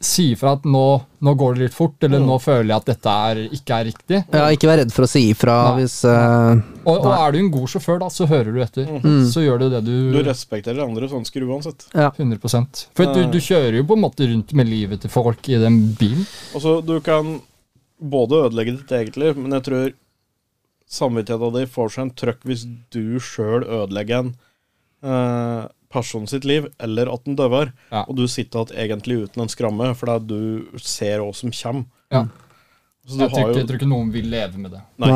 Si ifra at nå, nå går det litt fort,
Mm.
eller nå føler jeg at dette er, ikke er riktig.
ja, ikke vær redd for å si ifra
Nei.
hvis eh,
Og, og er du en god sjåfør, da, så hører du etter.
Mm.
Så gjør du det
Mm. Du respekterer andre svansker uansett.
100 For
Mm.
du, du kjører jo på en måte rundt med livet til folk i den bilen.
Altså, du kan både ødelegge ditt eget liv, men jeg tror samvittigheten din får seg en trøkk hvis du sjøl ødelegger en eh, person sitt liv, eller at den døver,
Ja.
og du sitter igjen egentlig uten en skramme, fordi du ser hva som kommer.
Ja.
Mm. Så du
Jeg
har
tror, ikke,
jo
jeg tror ikke noen vil leve med det.
Nei.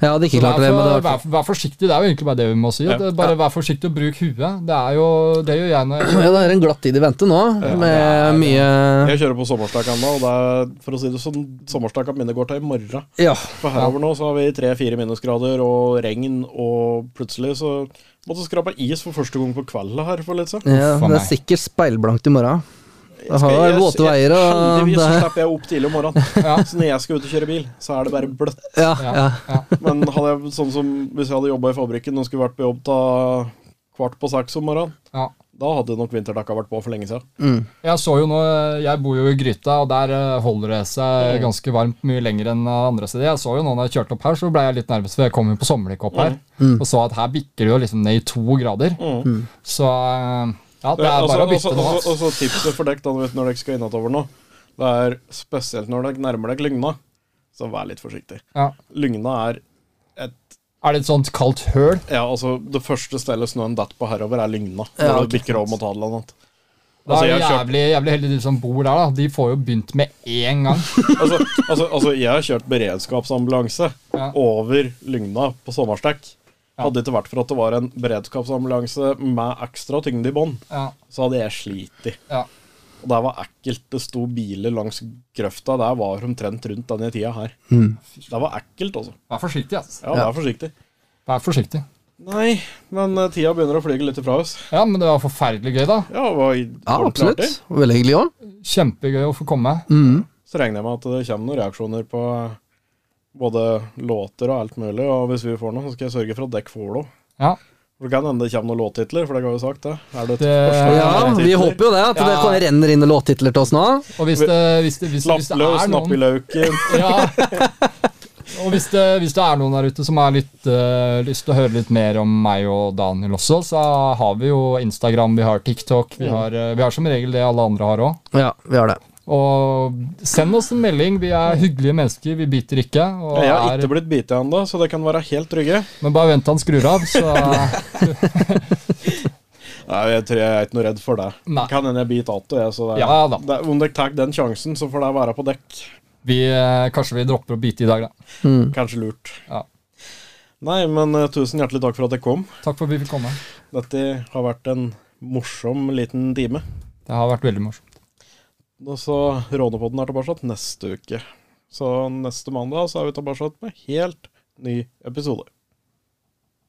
Jeg hadde ikke
Så
klart det,
vær,
men det
for,
var
vær, vær forsiktig, det er jo egentlig bare det vi må si. at
Ja.
det- Bare vær forsiktig og bruk huet. Det er jo det gjør jeg når jeg
ja, det er en glatt tid i vente nå, med mye
Jeg kjører på sommerstakk ennå, og det er, for å si det sånn, sommerstakka mine går til i morgen.
Ja.
For herover nå så har vi tre-fire minusgrader og regn, og plutselig så måtte skrape is for første gang på kvelden her for litt siden.
ja
Uff, a
det er
meg.
sikkert speilblankt i morgen. Det har
Skal jeg-
vært våte veier og
Heldigvis
det
så
er
slipper jeg opp tidlig om
<laughs>
morgenen. Så når jeg skal ut og kjøre bil, så er det bare bløtt.
ja,
Ja,
ja.
ja.
Men hadde jeg, sånn som hvis jeg hadde jobba i fabrikken og skulle vært på jobb til kvart på seks om morgenen,
Ja.
da hadde nok vinterdekka vært på for lenge siden.
Jeg så jo nå, jeg bor jo i Gryta, og der eh, holder det seg ganske varmt mye lenger enn eh, andre steder. Jeg så jo nå når jeg kjørte opp her, så ble jeg litt nervøs, for jeg kom jo på sommerdekk opp her.
Mm.
Og så at her bikker det jo liksom ned i to grader. Så eh, ja, det er
Ja,
bare å
altså-
bytte nå.
altså-
altså.
altså tipset for dere da, vet, når dere skal innover nå, det er spesielt når dere nærmer dere Lygna, så vær litt forsiktig.
Ja.
Lygna er et
Er det et sånt kaldt høl?
Ja, altså, det første stedet snøen detter på herover, er Lygna. Når
Ja,
det bikker over mot Hadeland. at-
Da
Altså,
er
jeg
det
har kjørt
jævlig, jævlig heldig de som bor der, da. De får jo begynt med én
<laughs>
gang.
altså, altså, altså, jeg har kjørt beredskapsambulanse
Ja.
over Lygna på sommerstekk. Hadde det ikke vært for at det var en beredskapsambulanse med ekstra tyngde i bånn,
Ja,
så hadde jeg slitt.
ja.
Og det var ekkelt. Det sto biler langs grøfta. Der var omtrent rundt denne tida her.
Hmm.
Det var ekkelt, altså.
Vær forsiktig, altså.
Ja, vær forsiktig.
Vær forsiktig.
Nei, men eh, tida begynner å flyge litt ifra oss.
Ja, men det var forferdelig gøy, da.
Ja, var,
ja
var det
absolutt.
artig?
Veldig hyggelig Mm. òg.
Kjempegøy å få komme.
Så regner jeg med at det kommer noen reaksjoner på både låter og alt mulig. Og hvis vi får noe, så skal jeg sørge for at dere får noe.
Ja.
For Det kan hende det kommer noen låttitler, for dere har jo sagt det. Er det et
Det-
forslag til
Ja, vi
låttitler?
håper jo det, at det
Ja.
kan- renner inn låttitler til oss nå.
Og hvis det, hvis det, hvis, hvis det
Lappløs,
er
napp i
noen
lauken
<laughs> ja. Og hvis det, hvis det er noen der ute som har litt eh, lyst til å høre litt mer om meg og Daniel også, så har vi jo Instagram, vi har TikTok, vi har, eh, vi har som regel det alle andre har òg.
Ja, vi har det.
Og send oss en melding. Vi er hyggelige mennesker, vi biter ikke. Og
Jeg har
er,
ikke blitt bitt ennå, så dere kan være helt trygge.
men bare vent til han skrur av, så <laughs>
Nei, jeg tror jeg er ikke noe redd for det.
Nei.
Kan hende jeg biter att, jeg. Så det,
Ja da.
det, om dere tar den sjansen, så får det være på dekk.
vi, eh, kanskje vi dropper å bite i dag, da.
Kanskje lurt.
Ja.
Nei, men eh, tusen hjertelig takk for at dere kom.
Takk for at vi fikk komme.
Dette har vært en morsom liten time.
Det har vært veldig morsomt.
Og så Rånepodden er tilbake neste uke. Så neste mandag så er vi tilbake med helt ny episode.